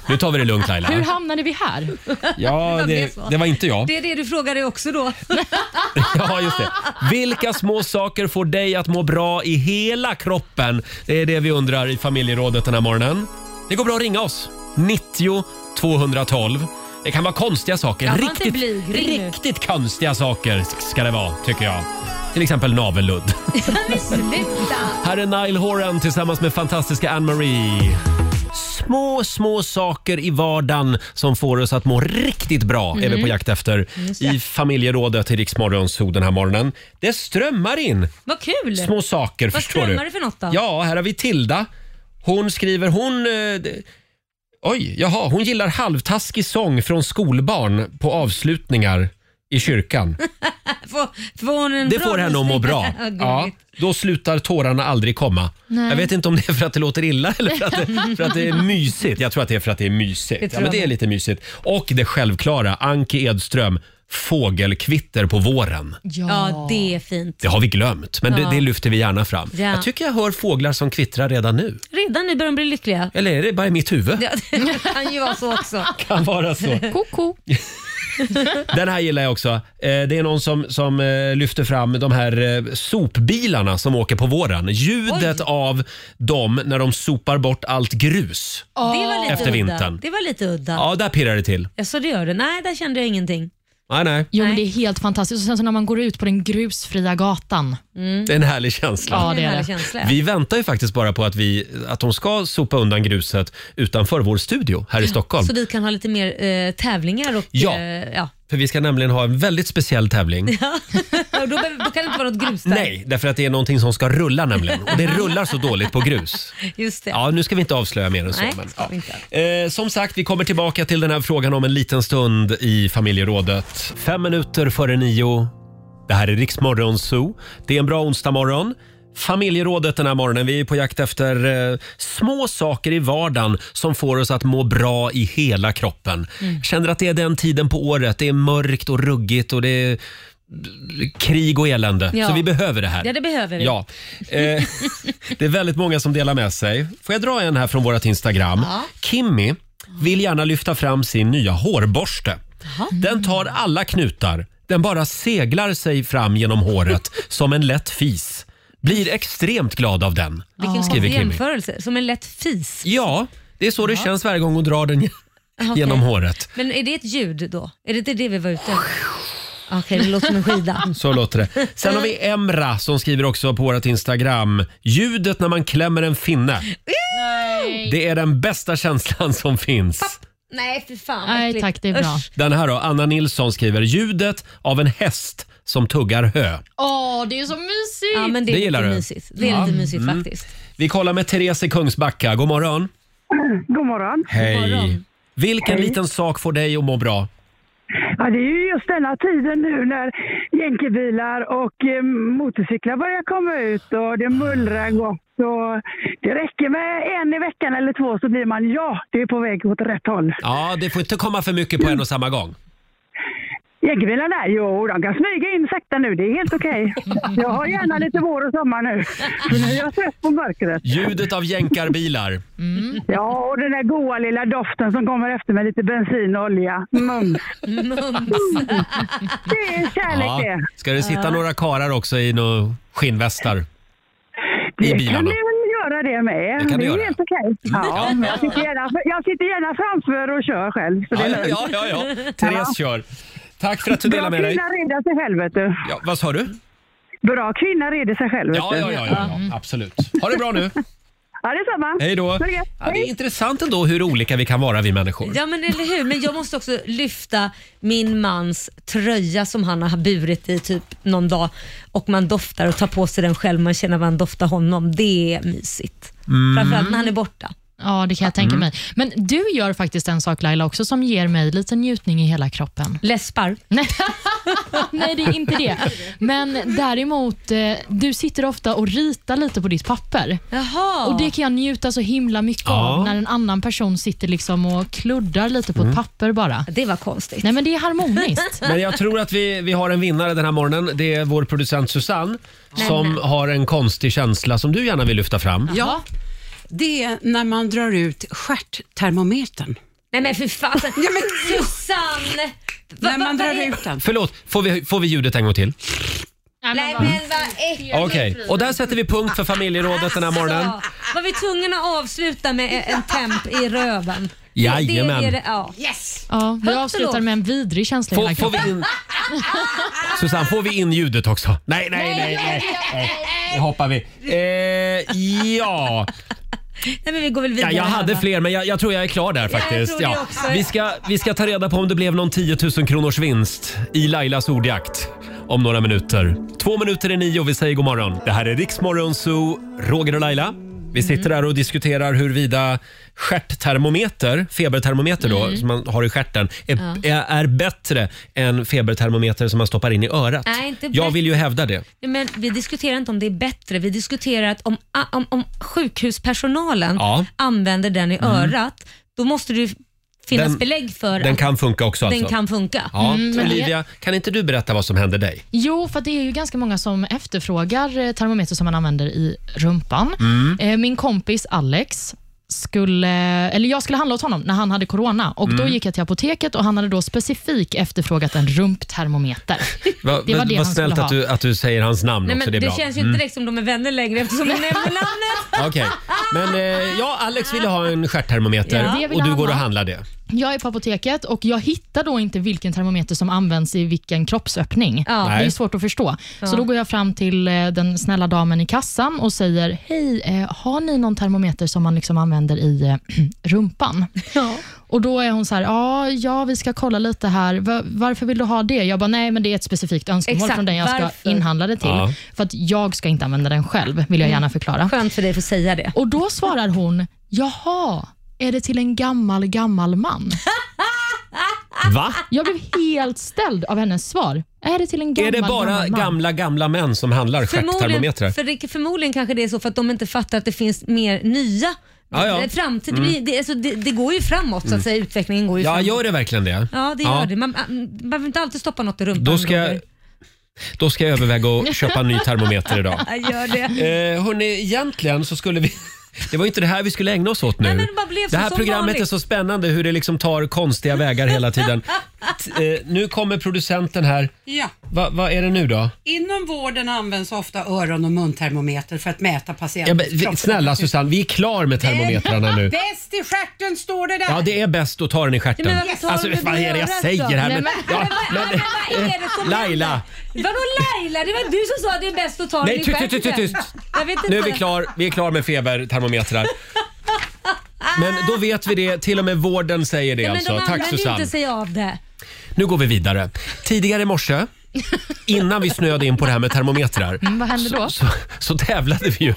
A: Nu tar vi det lugnt Laila.
C: hur hamnade vi här?
A: Ja, det, det var inte jag.
B: Det är det du frågade också då.
A: Ja, just det. Vilka små saker får dig att må bra i hela kroppen? Det är det vi undrar i familjerådet den här morgonen. Det går bra att ringa oss. 90 212. Det kan vara konstiga saker.
B: Ja, var inte
A: riktigt,
B: blyg. Ring nu.
A: riktigt konstiga saker ska det vara, tycker jag. Till exempel navelludd.
B: Men Sluta!
A: Här är Nile Horan tillsammans med fantastiska Anne-Marie. Små, små saker i vardagen som får oss att må riktigt bra är vi
B: Mhm.
A: på jakt efter
B: Just det.
A: i familjerådet i Rix Morgon Zoo den här morgonen. Det strömmar in
B: Vad kul!
A: små saker.
B: Vad
A: förstår
B: strömmar
A: du?
B: det för något då?
A: Ja, här har vi Tilda. Hon skriver, hon... eh, d- Oj, jaha, hon gillar halvtaskig sång från skolbarn på avslutningar i kyrkan.
B: Får, får hon en
A: Det
B: bra
A: får henne att må
B: musik?
A: bra.
B: Ja, gulligt.
A: Ja, då slutar tårarna aldrig komma.
B: Nej.
A: Jag vet inte om det är för att det låter illa eller för att det, för att det är mysigt. Jag tror att det är för att det är mysigt.
B: Det tror
A: ja, men
B: jag
A: det är
B: med.
A: lite mysigt. Och det självklara, Anki Edström, fågelkvitter på våren.
B: Ja. det är fint.
A: Det har vi glömt, men
B: Ja.
A: det, det lyfter vi gärna fram.
B: Ja.
A: Jag tycker jag hör fåglar som kvittrar redan nu.
B: Redan nu börjar de bli lyckliga.
A: Eller är det bara i mitt huvud?
B: Ja, det kan ju vara så också.
A: Kan vara så.
C: Koko.
A: Den här gillar jag också. Eh, Det är någon som, som eh, lyfter fram de här eh, sopbilarna som åker på våren. Ljudet av dem när de sopar bort allt grus.
C: Ah.
B: Det var lite
A: Efter
B: Udda.
A: vintern.
B: Det var lite udda.
A: Ja, där pirrar det till.
B: Jag sa det gör det. Nej, där kände jag ingenting.
A: Nej, nej.
C: Jo, men det är helt fantastiskt. Och sen så när man går ut på den grusfria gatan.
A: Det är en härlig känsla.
C: Ja, det är en härlig känsla, Mm. ja.
A: Vi väntar ju faktiskt bara på att, vi, att de ska sopa undan gruset utanför vår studio här i Stockholm.
B: Så vi kan ha lite mer eh, tävlingar och
A: Ja.
B: Eh, ja.
A: För vi ska nämligen ha en väldigt speciell tävling.
B: Ja. Och då, behöver- då kan det inte vara något grus där.
A: Nej, därför att det är någonting som ska rulla nämligen. Och det rullar så dåligt på grus.
B: Just det.
A: Ja, nu ska vi inte avslöja mer än så.
B: Nej,
A: men,
B: ska
A: ja.
B: vi inte.
A: Eh, som sagt, vi kommer tillbaka till den här frågan om en liten stund i familjerådet. Fem minuter före nio. Det här är Riksmorgon Zoo. Det är en bra onsdagmorgon. Familjerådet den här morgonen. Vi är på jakt efter eh, små saker i vardagen som får oss att må bra i hela kroppen.
M: Mm.
A: Känner att det är den tiden på året. Det är mörkt och ruggigt och det är krig och elände.
B: Ja.
A: Så vi behöver det här.
B: Ja, det behöver vi.
A: Ja. Eh, det är väldigt många som delar med sig. Får jag dra en här från vårt Instagram?
B: Ja.
A: Kimmy vill gärna lyfta fram sin nya hårborste. Den tar alla knutar. Den bara seglar sig fram genom håret som en lätt fis. Blir extremt glad av den, skriver
B: Vilken konstig
A: Kimmy.
B: jämförelse. Som en lätt fis.
A: Ja, det är så det känns varje gång hon drar den
B: Aha, okej.
A: genom håret.
B: Men är det ett ljud då? Är det inte det vi var ute efter? Okej, det låter som en skida.
A: Så låter det. Sen har
B: Eh.
A: vi Emra som skriver också på vårt Instagram. Ljudet när man klämmer en finne.
B: Nej.
A: Det är den bästa känslan som finns.
B: Nej, för fan.
C: Nej,
B: äckligt.
C: tack, det är bra.
B: Usch.
A: Den här då, Anna Nilsson skriver. Ljudet av en häst som tuggar hö.
C: Åh, det är så mysigt!
B: Ja, men det är
A: Det gillar
B: lite
A: du.
B: mysigt. Det är
A: Ja.
B: lite mysigt
A: Mm.
B: faktiskt.
A: Vi kollar med Therese i Kungsbacka. God morgon.
E: God morgon.
A: Hej. Vilken liten sak får dig att må bra?
E: Ja, det är ju just denna tiden nu när jänkebilar och eh, motorcyklar börjar komma ut och det mullrar gott. Och det räcker med en i veckan eller två så blir man ja, det är på väg åt rätt håll.
A: Ja, det får inte komma för mycket på en och samma gång.
E: Jänkebilarna, där, jo, de kan smyga in sakta nu, det är helt okej. Jag har gärna lite vår och sommar nu, så nu är jag trött på mörkret.
A: Ljudet av jänkarbilar.
E: Ja, och den där goa lilla doften som kommer efter med lite bensin och olja. Mums!
B: Mums!
E: Det är kärlek det.
A: Ska det sitta några karar också i några skinnvästar? I
E: Det kan
A: bilarna?
E: ni väl göra det med.
A: Det kan ni
E: är
A: göra.
E: helt okej. Ja, men jag, sitter gärna, jag sitter gärna framför och kör själv. Så det
A: Ja,
E: är lugnt.
A: ja, ja, ja. Therese kör. Tack för att du
E: Bra
A: delade med dig.
E: kvinna reder sig själv, vet du.
A: Ja, vad sa du?
E: Bra kvinna reder sig själv, vet
A: Ja,
E: du.
A: ja, ja, ja, ja absolut. Ha det bra nu.
E: Ja, detsamma.
A: Hej då.
E: Ha det gött.
A: Ja, det är intressant ändå hur olika vi kan vara vi människor.
B: Ja men eller hur, men jag måste också lyfta min mans tröja som han har burit i typ någon dag och man doftar och tar på sig den själv, man känner att man doftar honom. Det är mysigt.
C: Mm.
B: Framförallt när han är borta.
C: Ja, det kan jag tänka
B: Mm.
C: mig. Men du gör faktiskt en sak Laila också som ger mig lite njutning i hela kroppen.
B: Läspar?
C: Nej, Nej det är inte det. Men däremot, eh, du sitter ofta och ritar lite på ditt papper.
B: Jaha.
C: Och Det kan jag njuta så himla mycket
B: Ja. Mm.
C: av när en annan person sitter liksom och kluddar lite på ett papper bara.
B: Det var konstigt.
C: Nej, men det är harmoniskt.
A: Men jag tror att vi, vi har en vinnare den här morgonen. Det är vår producent Susanne som
K: Nämen.
A: har en konstig känsla som du gärna vill lyfta fram.
K: Ja, det är när man drar ut stjärttermometern.
B: Nej men för fan.
K: Ja, men...
B: Susanne! Va-
K: När
B: va-
K: man
B: vad
K: drar
B: är-
K: ut den.
A: Förlåt, får vi, får vi ljudet en gång till?
B: Nej men vad äckligt.
A: Okej, och där sätter vi punkt för familjerådet den här morgonen.
B: Ja, var vi tvungna att avsluta med e- en temp i röven?
A: Jajamän.
B: Det, det, det, ja.
K: Yes!
C: Ja,
B: Högt
C: vi
B: och
C: avslutar
B: lågt.
C: med en vidrig känsla i
A: Får,
C: hela
A: får, vi
C: kroppen.
A: in, Susanne, får vi in ljudet också? Nej, nej, nej. nej, nej. Det hoppar vi. Eh, ja.
B: Nej, men vi går väl
A: ja,
B: vidare.
A: jag
B: här,
A: hade
B: va?
A: fler men jag, jag tror jag är klar där
B: jag
A: faktiskt.
B: tror det också.
A: Vi, ska, vi ska ta reda på om det blev någon 10 000 kronors vinst i Lailas ordjakt om några minuter. Två minuter i nio och vi säger god morgon. Det här är Riksmorgon Zoo, Roger och Laila. Vi
B: Mm.
A: sitter här och diskuterar huruvida stjärttermometer, febertermometer då,
B: Mm.
A: som man har i stjärten, är, är, är bättre än febertermometer som man stoppar in i örat.
B: Nej, inte
A: jag
B: bättre.
A: vill ju hävda det.
B: Nej, Men vi diskuterar inte om det är bättre, vi diskuterar att om, om, om sjukhuspersonalen
A: Ja.
B: använder den i
A: Mm.
B: örat, då måste det ju finnas
A: Den-
B: belägg för
A: Den
B: att
A: kan funka också
B: den
A: alltså?
B: kan funka.
A: Ja.
C: Mm, men det-
A: Olivia, kan inte du berätta vad som hände dig?
C: Jo, för det är ju ganska många som efterfrågar eh, termometer som man använder i rumpan.
A: Mm.
C: Eh, Min kompis Alex skulle, eller jag skulle handla åt honom när han hade corona och då
A: Mm.
C: gick jag till apoteket och han hade då specifikt efterfrågat en rumptermometer.
A: Va,
C: Det var
A: vad-
C: det
A: vad
C: han
A: snällt
C: skulle
A: att
C: ha.
A: du, att du säger hans namn
B: Nej,
A: också.
B: men
A: Det
B: det
A: är bra.
B: känns ju inte direkt som de är vänner längre eftersom de nämner namnet.
A: Mm. Okej. Men eh, ja, Alex ville ha en stjärttermometer
C: Ja. Det vill
A: och du
C: han
A: går och
C: ha.
A: handlar det.
C: Jag är på apoteket och jag hittar då inte vilken termometer som används i vilken kroppsöppning. Det är
A: Nej.
C: ju svårt att förstå.
B: Ja.
C: Så då går jag fram till eh, den snälla damen i kassan och säger, hej, eh, har ni någon termometer som man liksom använder i eh, rumpan? Och Då är hon så här, ja, ja vi ska kolla lite här. Va- varför vill du ha det? Jag bara, nej men det är ett specifikt önskemål
B: Exakt,
C: från den jag ska
B: varför?
C: inhandla det till.
B: Ja.
C: För att jag ska inte använda den själv, vill jag gärna förklara.
B: Skönt för dig att få säga det.
C: Och Då svarar hon, jaha, är det till en gammal, gammal man?
B: Ah,
A: Va?
C: Jag blev helt ställd av hennes svar. Är det till en gammal,
A: är det bara
C: gammal man?
A: gamla, gamla män som handlar
B: Förmodligen,
A: stjärttermometrar?
B: för det, förmodligen kanske det är så för att de inte fattar att det finns mer nya.
A: Ja, ja.
B: Det- Framtid, det,
A: Mm.
B: blir- det, alltså, det, det går ju framåt så
A: Mm.
B: att säga. Utvecklingen går ju
A: Ja,
B: framåt.
A: gör det verkligen det?
B: Ja, det gör det. Man, man behöver inte alltid stoppa något i rumpan.
A: Då ska, jag,
B: Roger.
A: då ska jag överväga att köpa en ny termometer idag.
B: Ja, gör det.
A: Eh, hörni, egentligen så skulle vi... Det var ju inte det här vi skulle ägna oss åt nu.
B: Nej, men det bara blev så
A: det här
B: som
A: programmet
B: vanligt.
A: är så spännande hur det liksom tar konstiga vägar hela tiden. Eh, nu kommer producenten här.
K: Ja.
A: Va- Vad är det nu då?
K: Inom vården används ofta öron och muntermometer för att mäta
A: Ja,
K: patientens
A: men, vi- snälla Susanne, vi är klar med termometrarna nu.
K: Bäst i stjärten står det där.
A: Ja, det är bäst att ta den i
K: Ja,
A: stjärten.
K: men vad tar
A: Alltså,
K: du med
A: vad är det jag
K: örat
A: säger
K: då?
A: här?
K: Nej,
A: Men,
K: men-
A: ja,
B: men vad är det som
A: Laila!
B: Vadå Laila? Det var du som sa att det är bäst att ta
A: Nej,
B: den i
A: tyst,
B: stjärten.
A: tyst, tyst, tyst.
B: Jag vet inte.
A: Nu är vi klar, vi är klar med febertermometrar. Men då vet vi det, till och med vården säger det
B: Ja, men
A: alltså.
B: de
A: Tack
B: använder
A: Susanne.
B: inte sig av det.
A: Nu går vi vidare. Tidigare i morse, innan vi snöade in på det här med termometrar,
C: Mm, vad hände då?
A: så, så tävlade vi ju.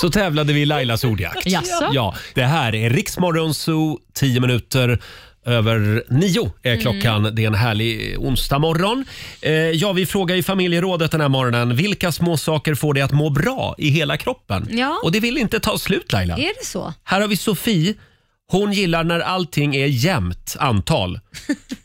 A: Så tävlade vi i Lailas ordjakt.
C: Jaså?
A: Ja, det här är Riksmorgon Zoo, 10 minuter över nio
B: Mm.
A: är klockan. Det är en härlig onsdag morgon. Eh, ja, vi frågar i familjerådet den här morgonen, vilka små saker får dig att må bra i hela kroppen?
B: Ja.
A: Och det vill inte ta slut Laila.
B: Är det så?
A: Här har vi Sofie. Hon gillar när allting är jämnt antal.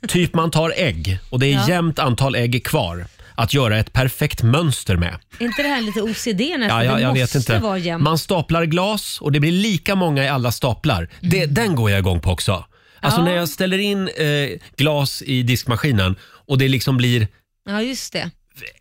A: typ man tar ägg och det är
B: Ja.
A: jämnt antal ägg kvar att göra ett perfekt mönster med.
B: Är inte det här lite OCD nästan?
A: Ja, ja,
B: det
A: jag
B: måste
A: vet inte.
B: vara jämnt.
A: Man staplar glas och det blir lika många i alla staplar. Det, den går jag igång på också. Alltså
B: Mm. Ja.
A: när jag ställer in eh, glas i diskmaskinen och det liksom blir
B: Ja, just det.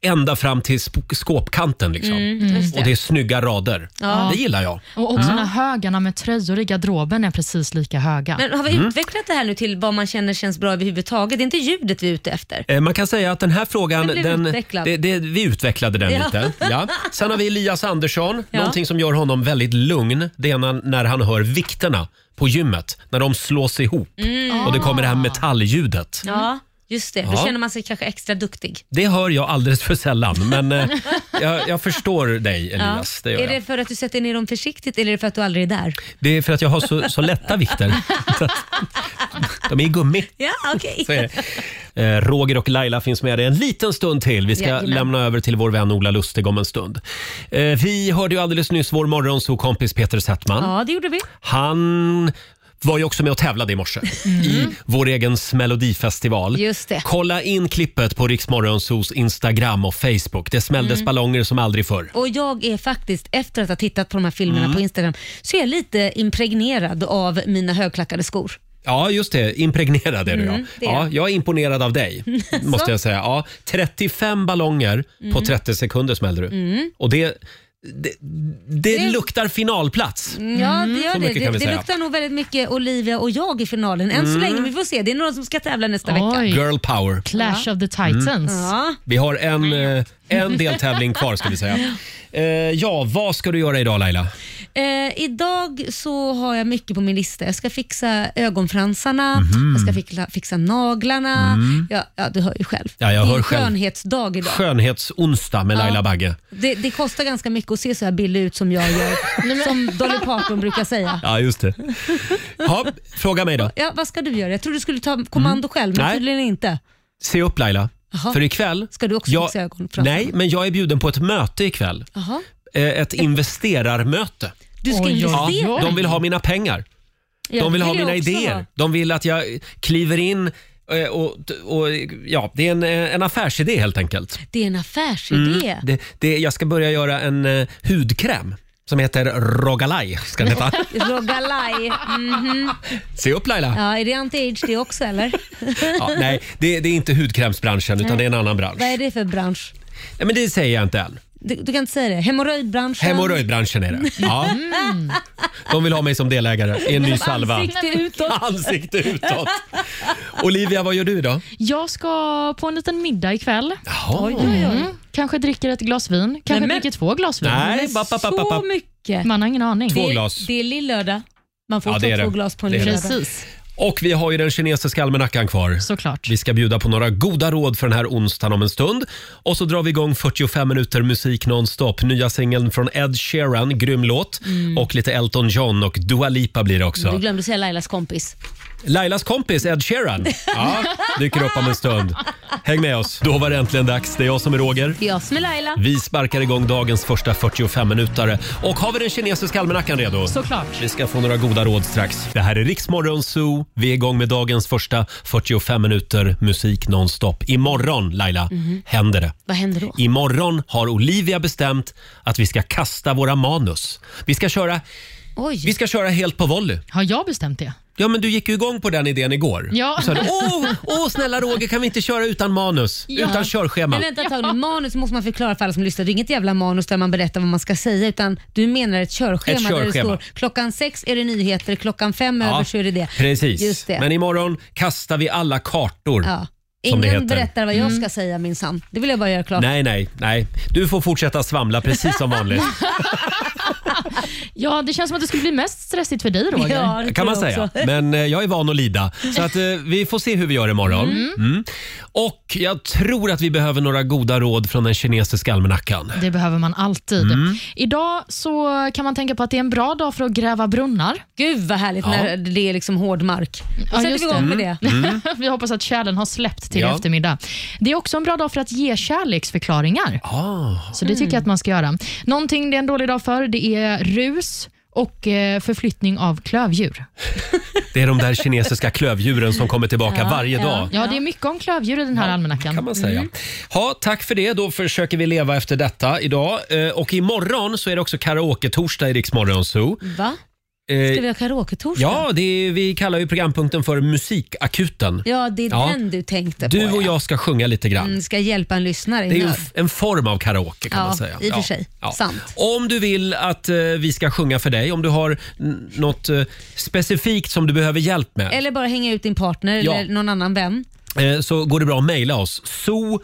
A: ända fram till sp- skåpkanten. Liksom.
C: Mm, mm. just det.
A: Och det är snygga rader.
C: Ja.
A: Det gillar jag.
C: Och också
A: Mm.
C: när högarna med tröjor i garderoben är precis lika höga.
B: Men har vi
A: Mm.
B: utvecklat det här nu till vad man känner känns bra överhuvudtaget? Det är inte ljudet vi är ute efter.
A: Eh, Man kan säga att den här frågan,
B: Den blev
A: den
B: utvecklad.
A: det, det, vi utvecklade den
B: Ja.
A: lite. Ja. Sen har vi Elias Andersson.
B: Ja.
A: Någonting som gör honom väldigt lugn, det är när, när han hör vikterna på gymmet, när de slås ihop
B: Mm.
A: och det kommer det här metallljudet.
B: Ja, just det. Då
A: Ja.
B: känner man sig kanske extra duktig.
A: Det hör jag alldeles för sällan, men eh, jag, jag förstår dig Elias. Det, gör
B: är
A: jag.
B: det för att du sätter ner dem försiktigt eller är det för att du aldrig är där?
A: det är för att jag har så, så lätta vikter. Så att- De är i gummi.
B: Ja, okej.
A: Så är det. Eh, Roger och Laila finns med dig en liten stund till. Vi ska
B: Jajamän.
A: lämna över till vår vän Ola Lustig om en stund. Eh, Vi hörde ju alldeles nyss vår morgonsokompis Peter Settman.
B: Ja, det gjorde vi.
A: Han var ju också med och tävlade i morse i vår egen melodifestival.
B: Mm. Just det.
A: Kolla in klippet på Riksmorgonsos Instagram och Facebook. Det smälldes
B: Mm.
A: ballonger som aldrig förr.
B: Och jag är faktiskt, efter att ha tittat på de här filmerna på Instagram, så är jag lite impregnerad av mina högklackade skor.
A: Ja, just det. Impregnerad är du,
B: Mm, det
A: ja.
B: är
A: ja.
B: jag.
A: Jag är imponerad av dig, måste jag säga. Ja, 35 ballonger på
B: Mm.
A: 30 sekunder smällde du.
B: Mm.
A: Och det, det, det, luktar finalplats.
B: Mm, Ja, det gör
A: Så
B: det.
A: mycket kan vi
B: Det,
A: säga.
B: det luktar nog väldigt mycket Olivia och jag i finalen. Än så
A: Mm.
B: länge, vi får se. Det är några som ska tävla nästa vecka.
A: Girl power.
C: Clash of the
A: Mm.
C: Titans.
B: Ja.
A: Vi har en, eh, en deltävling kvar ska vi säga. Eh, Ja, vad ska du göra idag Laila?
B: Eh, idag så har jag mycket på min lista. Jag ska fixa ögonfransarna,
A: Mhm.
B: jag ska fixa, fixa naglarna.
A: Mm.
B: Ja, ja, du hör ju själv.
A: Ja, jag
B: det är
A: hör
B: en
A: själv.
B: skönhetsdag idag.
A: Skönhetsonsdag med Laila
B: Ja.
A: Bagge.
B: Det, det kostar ganska mycket att se så här billig ut som jag gör, som Dolly Parton brukar säga.
A: Ja, just det. Ja, fråga mig då.
B: Ja, vad ska du göra? Jag trodde du skulle ta kommando själv, men
A: Mm. Nej.
B: tydligen inte.
A: Se upp Laila,
B: Jaha.
A: för ikväll...
B: Ska du också
A: jag,
B: fixa ögonfransarna?
A: Nej, men jag är bjuden på ett möte ikväll.
B: Jaha.
A: Eh, ett investerarmöte.
B: Du ska Oj, investera? oj, oj.
A: Ja, de vill ha mina pengar.
B: Ja,
A: De vill
B: det
A: ha
B: vill jag
A: mina
B: också
A: idéer.
B: ha.
A: De vill att jag kliver in eh, och, och ja, det är en, eh, en affärsidé helt enkelt.
B: Det är en affärsidé.
A: Mm, det, det, jag ska börja göra en eh, hudkräm som heter Rogalaj. Ska den heta.
B: Rogalaj. Mhm.
A: Se upp Laila. Ja.
B: Ja, är det anti-age det också eller?
A: nej, det, det är inte hudkrämsbranschen utan
B: Nej.
A: det är en annan bransch.
B: Vad är det för bransch?
A: Nej, men det säger jag inte än.
B: Du, du kan inte säga det. Hemorrojdbranschen?
A: Hemorrojdbranschen är det. Ja,
B: Mm.
A: de vill ha mig som delägare i en ny salva.
B: Ansikte utåt.
A: Ansikte utåt. Olivia, vad gör du idag?
C: Jag ska på en liten middag ikväll.
A: Jaha. Oj, oj, oj.
C: Mm. Kanske dricker ett glas vin, kanske
B: men-
C: dricker två glas vin.
A: Nej,
C: Men
A: ba, ba, ba, ba, ba.
C: så mycket. Man har ingen aning.
A: Två glas.
B: Det är lillördag. Man får
A: Ja, det är
B: ta två
A: det.
B: glas på en
A: Det är det.
B: lillördag.
A: Precis. Och vi har ju den kinesiska almanackan kvar.
C: Såklart.
A: Vi ska bjuda på några goda råd för den här onsdagen om en stund. Och så drar vi igång 45 minuter musik nonstop. Nya singeln från Ed Sheeran, grym låt.
B: Mm.
A: Och lite Elton John och Dua Lipa blir det
B: Du
A: också.
B: glömde säga Lailas kompis.
A: Lailas kompis Ed Sheeran ja, dyker upp om en stund. Häng med oss. Då var det äntligen dags. Det är jag som är Roger.
B: Det är jag som är Laila.
A: Vi sparkar igång dagens första 45 minutare. Och har vi den kinesiska almanackan redo?
C: Såklart.
A: Vi ska få några goda råd strax. Det här är Riksmorgon Zoo. Vi är igång med dagens första 45 minuter musik nonstop. Imorgon, Laila,
B: Mhm.
A: händer det.
B: Vad händer då?
A: Imorgon har Olivia bestämt att vi ska kasta våra manus. Vi ska köra
B: Oj.
A: Vi ska köra helt på volley.
C: Har jag bestämt det?
A: Ja, men du gick ju igång på den idén igår.
C: Ja.
A: Så, åh, åh, snälla Roger, kan vi inte köra utan manus?
B: Ja.
A: Utan körschema?
B: Men vänta ett tag nu, manus måste man förklara för alla som lyssnar. Det är inget jävla manus där man berättar vad man ska säga utan du menar ett körschema,
A: Ett
B: där det
A: körschema.
B: står klockan sex är det nyheter, klockan fem
A: Ja,
B: över så är det det.
A: Precis.
B: Just det.
A: Men imorgon kastar vi alla kartor.
B: ja.
A: som det
B: Ingen
A: heter.
B: berättar vad jag
A: Mm.
B: ska säga minsann. Det vill jag bara göra klart.
A: Nej, nej, nej. Du får fortsätta svamla precis som vanligt.
C: Ja, det känns som att det skulle bli mest stressigt för dig Roger.
A: kan man säga. Men eh, jag är van att lida. Så att, eh, vi får se hur vi gör imorgon.
C: Mm.
A: Mm. Och jag tror att vi behöver några goda råd från den kinesiska almanackan.
C: Det behöver man alltid.
A: Mm.
C: Idag så kan man tänka på att det är en bra dag för att gräva brunnar.
B: Gud vad härligt
A: Ja.
B: när det är liksom hård mark. Då sätter vi igång med det.
A: Mm.
C: vi hoppas att kärlen har släppt till
B: Ja.
C: eftermiddag. Det är också en bra dag för att ge kärleksförklaringar. Så det tycker
B: Mm.
C: jag att man ska göra. Någonting det är en dålig dag för, det är rus och eh, förflyttning av klövdjur.
A: Det är de där kinesiska klövdjuren som kommer tillbaka varje dag.
C: Ja, Mm. det är mycket om klövdjur i den här almanackan.
A: kan man säga. Ha, tack för det. Då försöker vi leva efter detta idag. Eh, och imorgon så är det också karaoke-torsdag i Rix Morgon Zoo.
B: Va?
A: Eh,
B: Ska vi ha karaoke-torsdag?
A: Mm. Ja, det är, vi kallar ju programpunkten för Musikakuten.
B: Ja, det är
A: Ja.
B: den du tänkte
A: Du
B: på.
A: och jag ska sjunga lite grann.
B: Mm, ska hjälpa en lyssnare i
A: Det är ju en,
B: nöd.
A: f- en form av karaoke kan
B: Ja,
A: man säga.
B: i och för sig. Sant.
A: Om du vill att eh, vi ska sjunga för dig, om du har n- något eh, specifikt som du behöver hjälp med.
B: Eller bara hänga ut din partner
A: Ja.
B: eller någon annan vän.
A: Eh, så går det bra att mejla oss. so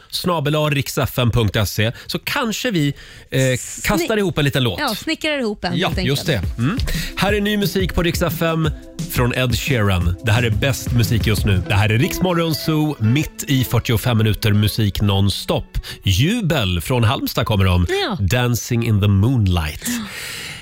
A: så kanske vi eh, kastar ihop en liten låt.
B: Ja, snickrar ihop en
A: Ja,
B: helt enkelt.
A: just det. Mm. Här är ny musik på Riksdag 5 från Ed Sheeran. Det här är bäst musik just nu. Det här är Riksmorgon Zoo, mitt i 45 minuter musik nonstop. Jubel från Halmstad kommer de.
B: Ja.
A: Dancing in the moonlight.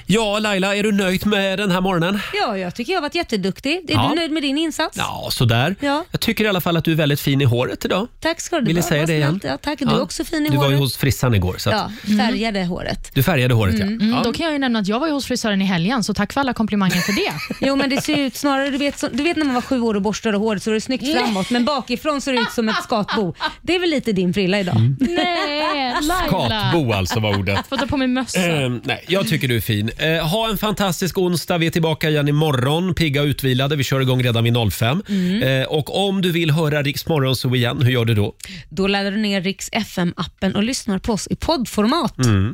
A: Ja, Laila, är du nöjd med den här morgonen?
B: Ja, jag tycker jag har varit jätteduktig. Är
A: Ja.
B: du nöjd med din insats?
A: Ja, sådär.
B: Ja.
A: Jag tycker i alla fall att du är väldigt fin i håret idag.
B: Tack ska du
A: Vill jag
B: ha.
A: säga
B: Vad
A: det igen?
B: snällt. Ja, tack. Du
A: Ja.
B: är också fin i
A: Du var ju
B: håret.
A: hos Mm. frissan igår, så att
B: Ja, färgade håret.
A: du färgade håret. Ja.
C: Mm,
A: Ja.
C: Då kan jag ju nämna att jag var ju hos frisören i helgen, så tack för alla komplimanger för det.
B: Jo men det ser ut snarare, du vet, så- du vet när man var sju år och borstade håret så är det snyggt framåt men bakifrån ser det ut som ett skatbo. Det är väl lite din frilla idag.
A: Mm.
C: Nej,
A: Skatbo alltså var ordet.
C: Får ta på mig mössa.
A: Eh, nej, jag tycker du är fin. Eh, ha en fantastisk onsdag. Vi är tillbaka igen imorgon, pigga och utvilade. Vi kör igång redan vid 05.
B: Mm.
A: Eh, och om du vill höra Riks Morgonzoo igen, hur gör du då?
B: Då laddar du ner Riks FM-appen och lyssnar på oss i poddformat.
A: Mm.